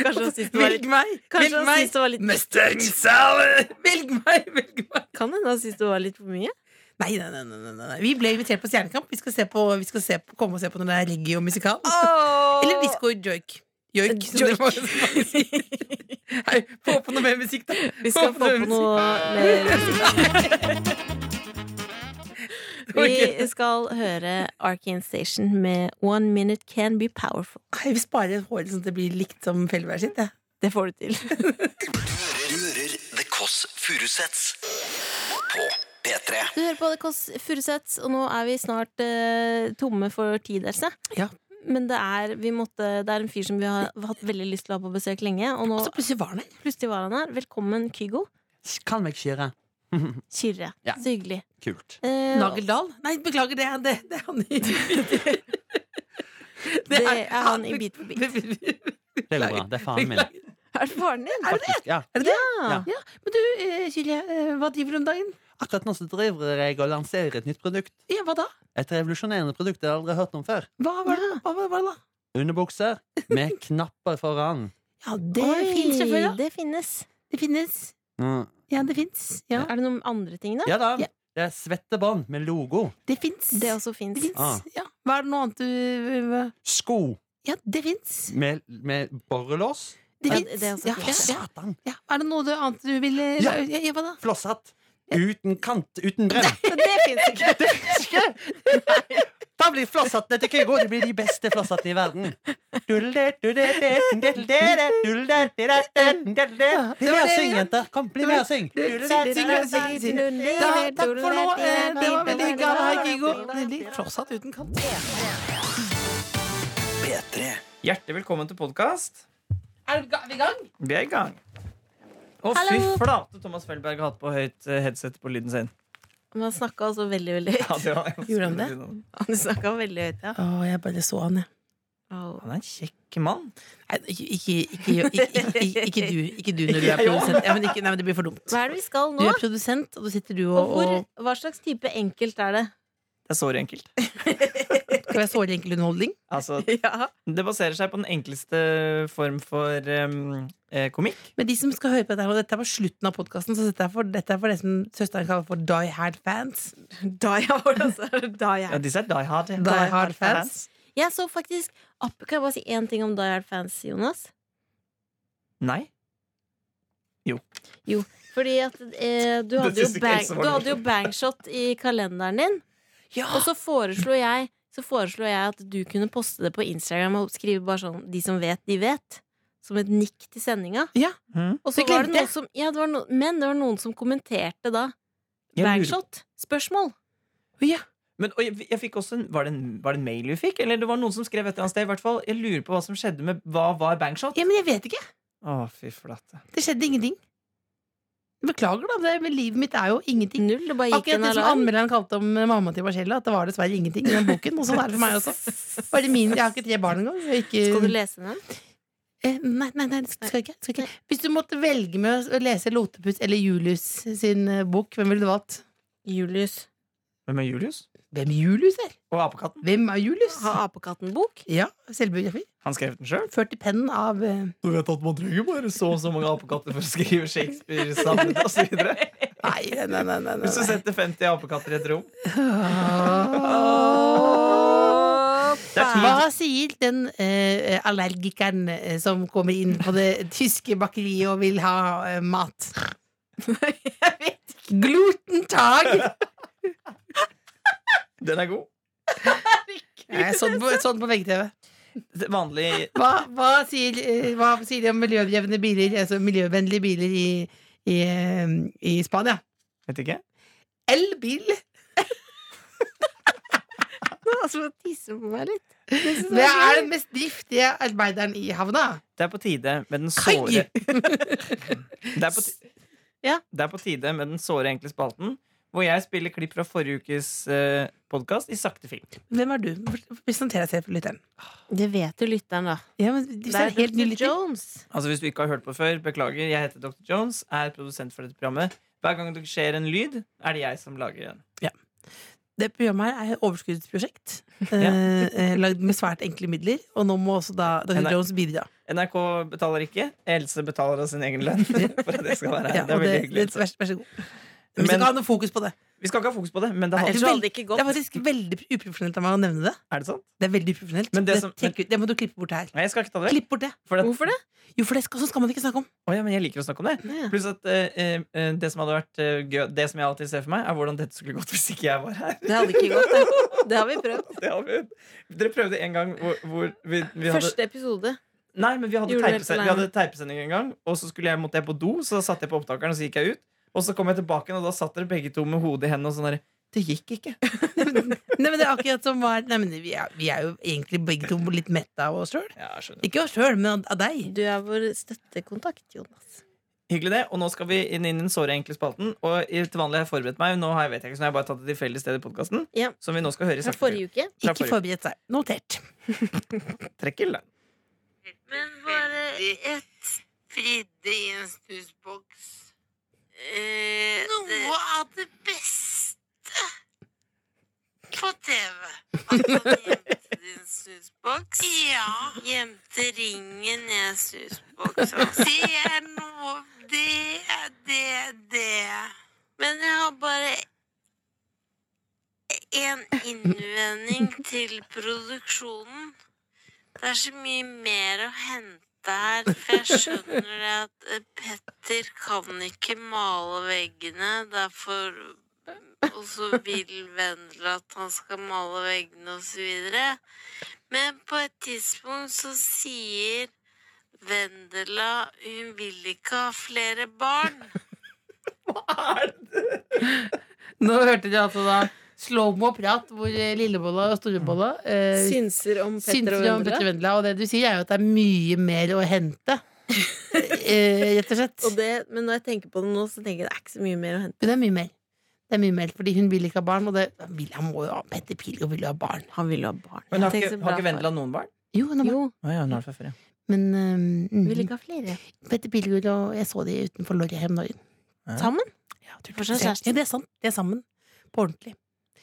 C: Kanskje han syntes det var litt
D: Velg meg!
C: Kanskje
D: velg
C: han
D: meg.
C: syntes det var litt-
D: Mustang salad! Velg meg! Velg meg!
C: Kan hende han syntes det var litt for mye.
D: Nei, nei, nei, nei, nei, nei. Vi ble invitert på Stjernekamp. Vi skal, se på, vi skal se på, komme og se på når det er reggae-musikal. Eller disco joik. Joik. som det var- Nei, Få på noe mer musikk, da.
C: Vi skal få på noe mer musikk. Vi skal høre Arkane Station med One Minute Can Be Powerful.
D: Nei, vi sparer håret sånn at det blir likt som Fellberg sitt. Ja.
C: Det får du til.
B: Du hører, du hører The Kåss Furuseths på P3.
C: Du hører på The Kåss Furuseths, og nå er vi snart eh, tomme for tid, Else.
D: Ja.
C: Men det er, vi måtte, det er en fyr som vi har hatt veldig lyst til å ha på besøk lenge, og nå
D: Så plutselig var han her.
C: plutselig var han her. Velkommen, Kygo.
H: Kan meg kjøre.
C: Kyrre.
H: Ja.
C: Så hyggelig.
H: Kult.
C: Eh,
D: Nageldal? Nei, beklager, det er, det, det er han i
C: Det er han i Bit for bit.
H: Det går bra. Det er faren min.
D: Beklager.
C: Er det faren din?
H: Faktisk, ja.
D: Men du, eh, Silje, eh, hva driver du om dagen?
H: Akkurat nå så driver jeg og lanserer et nytt produkt.
D: Ja, hva da?
H: Et revolusjonerende produkt jeg aldri har hørt om før.
D: Hva var det, hva var det da?
H: Underbukser med knapper foran.
D: Ja, det
C: Oi,
D: finnes selvfølgelig. da.
C: Det finnes.
D: Det finnes.
H: Mm.
D: Ja, det fins. Ja,
C: Er det noen andre ting, da?
H: Ja da.
D: Ja.
H: Det er svettebånd med logo.
D: det fins.
C: Det også fins.
D: Det fins.
H: Ah.
D: Ja. Hva er det noe annet du
H: Sko
D: Ja, det fins.
H: med, med borrelås.
D: Det
C: Ja,
D: fins.
C: det er også
D: Ja,
H: Å,
C: fint.
D: ja, ja.
H: satan!
D: ja. Er det noe du- annet du vil eh,
H: Ja.
D: ja, ja, hva da?
H: Flosshatt. Uten kant, uten brem.
D: Det fins ikke.
H: Da blir flosshattene til Kygo De blir de beste flosshattene i verden. Bli med og syng, jenter. Kom, bli med og syng.
D: Da, takk for nå. Eh, Det var veldig hyggelig å ha deg, Kygo. Veldig Flosshatt uten kant.
B: P3.
I: Hjertelig velkommen til podkast.
D: Er vi ga- vi i gang?
I: Vi er i gang. Å, fy flate! Thomas Felberg har hatt på høyt eh, headset på lyden sin.
C: Men han snakka altså veldig, veldig høyt.
I: Ja, det var
D: Gjorde han det?
C: Han snakket veldig høyt, ja.
D: Å, jeg bare så han, jeg.
C: Au.
I: Han er en kjekk mann.
D: Nei, Ikke, ikke, ikke, ikke, ikke, ikke, du, ikke du når du er produsent. Ja, men ikke, nei, men det blir for dumt.
C: Hva er det vi skal
D: Du
C: nå?
D: er produsent, og du sitter du
C: Og
D: og,
C: hvor,
D: og
C: hva slags type enkelt er det?
I: Det er såre enkelt.
D: Skal være såre enkel underholdning.
I: Altså,
D: Ja.
I: det baserer seg på den enkleste form for em, eh, komikk.
D: Men de som skal høre på dette, her, og dette er på slutten av podkasten, så dette er for, dette er for det som søsteren kaller for die hard fans.
C: Da ja, hvordan så er det da
I: Ja, disse er die hard.
D: Die hard fans.
C: Jeg så faktisk app- Kan jeg bare si én ting om Die Hard Fans, Jonas?
I: Nei.
C: Fordi at eh, du, hadde
I: Det
C: jo
I: synes ikke
C: bang,
I: Else var
C: du
I: noe.
C: hadde jo bangshot i kalenderen din. Og så foreslo jeg Så foreslo jeg at du kunne poste det på Instagram og skrive bare sånn 'De som vet, de vet'. Som et nikk til sendinga.
D: Ja.
I: Mhm.
C: Og så
D: Det
C: var det
D: glemte
C: noen
D: jeg.
C: som ja, det var noen- Men det var noen som kommenterte da.
I: Jeg lurer-
C: Bangshot? Spørsmål.
D: Ja.
I: Men, og jeg, jeg fikk også en, var, det en, var det en mail vi fikk? Eller det var noen som skrev et eller annet sted? I hvert fall, jeg lurer på hva som skjedde med Hva var bangshot?
D: ja, men jeg vet ikke.
I: Å, fy flate.
D: Det skjedde ingenting. Beklager, da, det- men livet mitt er jo ingenting.
C: Null. Det bare gikk
D: Akkurat
C: en
D: det som
C: alarm.
D: anmelderen kalte om eh, mamma til Marcella, at det var dessverre ingenting i den boken. Og sånn er det for meg også. Bare min, jeg har ikke tre barn engang. og ikke-
C: Skal du lese den?
D: Eh, Nei, nei, nei, det skal jeg ikke, skal jeg ikke. Hvis du måtte velge med å lese Lotepus eller Julius sin eh, bok, hvem ville du valgt?
C: Julius.
I: Hvem er Julius?
D: Hvem Julius er?
I: Og apekatten?
D: Hvem er Julius?
C: Har apekatten bok?
D: Ja, selvbiografi.
I: Han skrev den sjøl?
D: Ført i pennen av eh,
I: Du vet at man trenger bare så og så mange apekatter for å skrive Shakespeare sammen osv.
D: Nei, nei, nei. nei, nei,
I: Hvis du
D: nei.
I: setter 50 apekatter i et rom
D: Åh.
I: Det er tid.
D: Hva sier den eh, allergikeren eh, som kommer inn på det tyske bakeriet og vil ha eh, mat? Jeg vet ikke. Glutentag!
I: Den er god.
D: Nei, sånn på, sånn på VGTV.
I: Det Vanlig
D: Hva, hva, sier, eh, hva sier de om miljødrevne biler, altså miljøvennlige biler i, i, eh, i Spania?
I: Vet ikke.
D: Elbil!
C: Altså, tisse på meg litt.
D: Det er den mest driftige arbeideren i havna.
I: Det er på tide med den
D: Kai!
I: såre Det er på, ti-
D: Ja.
I: det er på tide med den såre enkle spalten, hvor jeg spiller klipp fra forrige ukes uh, podkast i sakte film.
D: Hvem er du? Presenter deg selv for lytteren.
C: Det vet jo lytteren, da.
D: Ja, men hvis det er en helt ny
C: Dr.
D: lytter
C: Jones.
I: Altså Hvis du ikke har hørt på før, beklager. Jeg heter Dr. Jones, er produsent for dette programmet. Hver gang det skjer en lyd, er det jeg som lager den.
D: Det programmet her er et overskuddsprosjekt. eh, eh, Lagd med svært enkle midler. Og nå må også da Dr.
I: Nei.
D: Jones bidra.
I: NRK betaler ikke. Else betaler av sin egen lønn. For at det skal være her.
D: Ja,
I: det
D: og
I: er veldig
D: det-
I: hyggelig. altså.
D: det- Vær, vær så god. Men vi
I: Men-
D: skal ikke ha noe fokus på det.
I: Vi skal ikke ha fokus på det, men det
D: Nei,
I: har,
D: ellers
C: Så hadde det ikke
D: Det
C: gått.
D: er faktisk veldig uprofesjonelt av meg å nevne det.
I: er det sant?
D: Det er veldig uprofesjonelt
I: Men det
D: Det
I: som-
D: tenker vi- det må du klippe bort her.
I: Nei, jeg skal ikke ta det vekk.
D: Klipp bort det.
I: For at,
C: Hvorfor det?
D: Jo, for det skal, sånn skal man ikke snakke om.
I: Å ja, men jeg liker å snakke om det.
C: Ja.
I: Pluss at eh, eh, det som hadde vært eh, gøy, Det som jeg alltid ser for meg, er hvordan dette skulle gått hvis ikke jeg var her.
C: Det hadde ikke gått, det. Det har vi prøvd.
I: Det har vi. Dere prøvde en gang hvor, hvor vi, vi hadde
C: Første episode.
I: Nei, men vi hadde,
C: Gjorde du helt
I: teipesen- vi
C: alene?
I: hadde teipesending en gang, og så skulle jeg, måtte jeg på do, så da satte jeg på opptakeren, og så gikk jeg ut. Og så kom jeg tilbake, igjen, og da satt dere begge to med hodet i hendene og sånn der Det gikk ikke.
D: Nei, men det er akkurat som var Nei, men vi er, vi er jo egentlig begge to litt mett av oss sjøl.
I: Ja, jeg skjønner.
D: Ikke oss sjøl, men av- av deg.
C: Du er vår støttekontakt, Jonas.
I: Hyggelig det. Og nå skal vi inn inn i den såre enkle spalten. Og i- til vanlig har jeg forberedt meg, nå har jeg, vet jeg ikke, så nå har jeg bare tatt et tilfeldig sted i podkasten.
C: Ja.
I: Som vi nå skal høre i
C: Fra
I: sakte
C: forrige uke.
I: Fra
D: Ikke forberedt seg. Notert.
I: trekk, eller?
J: Men bare ett fridde i en snusboks. Noe av det beste på TV. At han gjemte din snusboks. Ja. Gjemte ringen i en snusboks. Det er noe Det er det, det. Men jeg har bare en innvending til produksjonen. Det er så mye mer å hente her, for jeg skjønner det at eh, Petter kan ikke male veggene, derfor Og så vil Vendela at han skal male veggene, og så videre. Men på et tidspunkt så sier Vendela hun vil ikke ha flere barn.
D: Nå hørte dere altså da slow-mo-prat hvor eh, lillebolla og storebolla eh,
C: Synser om
D: Syntes
C: Petter og
D: du om
C: Vendela.
D: Petter Vendela, og det du sier er jo at det er mye mer å hente. eh, rett og slett.
C: Og det, men når jeg tenker på det nå, så tenker jeg det er ikke så mye mer å hente.
D: Men det er mye mer. Det er mye mer, fordi hun vil ikke ha barn, og det, han, vil, han må jo ha Petter Pilgaard vil jo ha barn.
C: Han ville ha barn.
I: Men har
C: Tenk
I: ikke,
C: så bra
I: har ikke
C: far.
I: Vendela noen barn?
D: Jo, han har barn.
C: Jo,
I: Å ja, hun har det fra før, ja.
D: Men eh,
C: ville
D: mm,
C: ikke ha flere.
D: Petter Pilgaard og jeg så de utenfor Lorry her om dagen.
C: Sammen?
D: Ja, tror du
C: Hva slags
D: ikke det?
C: kjæreste?
D: Ja, det er sant. De er sammen. På ordentlig.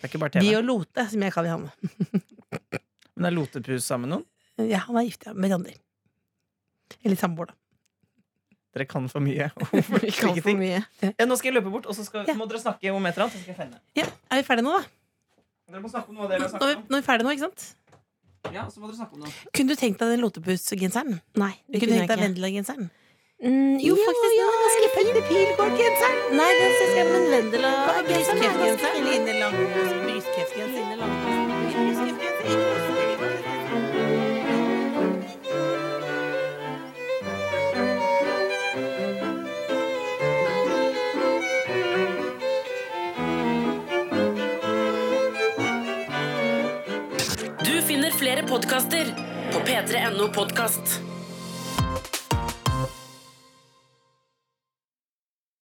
I: Det er ikke bare TV.
D: Diolote, som jeg kaller han.
I: Men er Lotepus sammen med noen?
D: Ja, han er gift ja, med Randi. Eller samboer, da.
I: Dere kan for mye.
C: Vi kan for mye.
I: Ja, Eh, nå skal jeg løpe bort, og så skal,
D: Ja.
I: må dere snakke om et eller annet. Så skal jeg finne.
D: Ja, er vi ferdige nå, da?
I: Dere må snakke om noe av det dere
D: Nå er
I: har
D: vi,
I: snakket om.
D: nå er vi ferdige nå, ikke sant?
I: Ja, så må dere snakke om noe.
D: Kunne du tenkt deg den lotepus-genseren?
C: Nei,
D: Du
C: det
D: kunne
C: kunne jeg
D: tenkt deg
C: ikke.
D: Vendela-genseren?
C: Mm, jo,
D: Ja,
C: faktisk.
D: ja,
C: den er ganske fin.
D: Petter Pilgaard-genseren!
C: Nei, den synes jeg men Vendela
D: Brystkreftgenseren.
C: Brystkreftgenseren.
A: Du finner flere podkaster på p3.no podkast.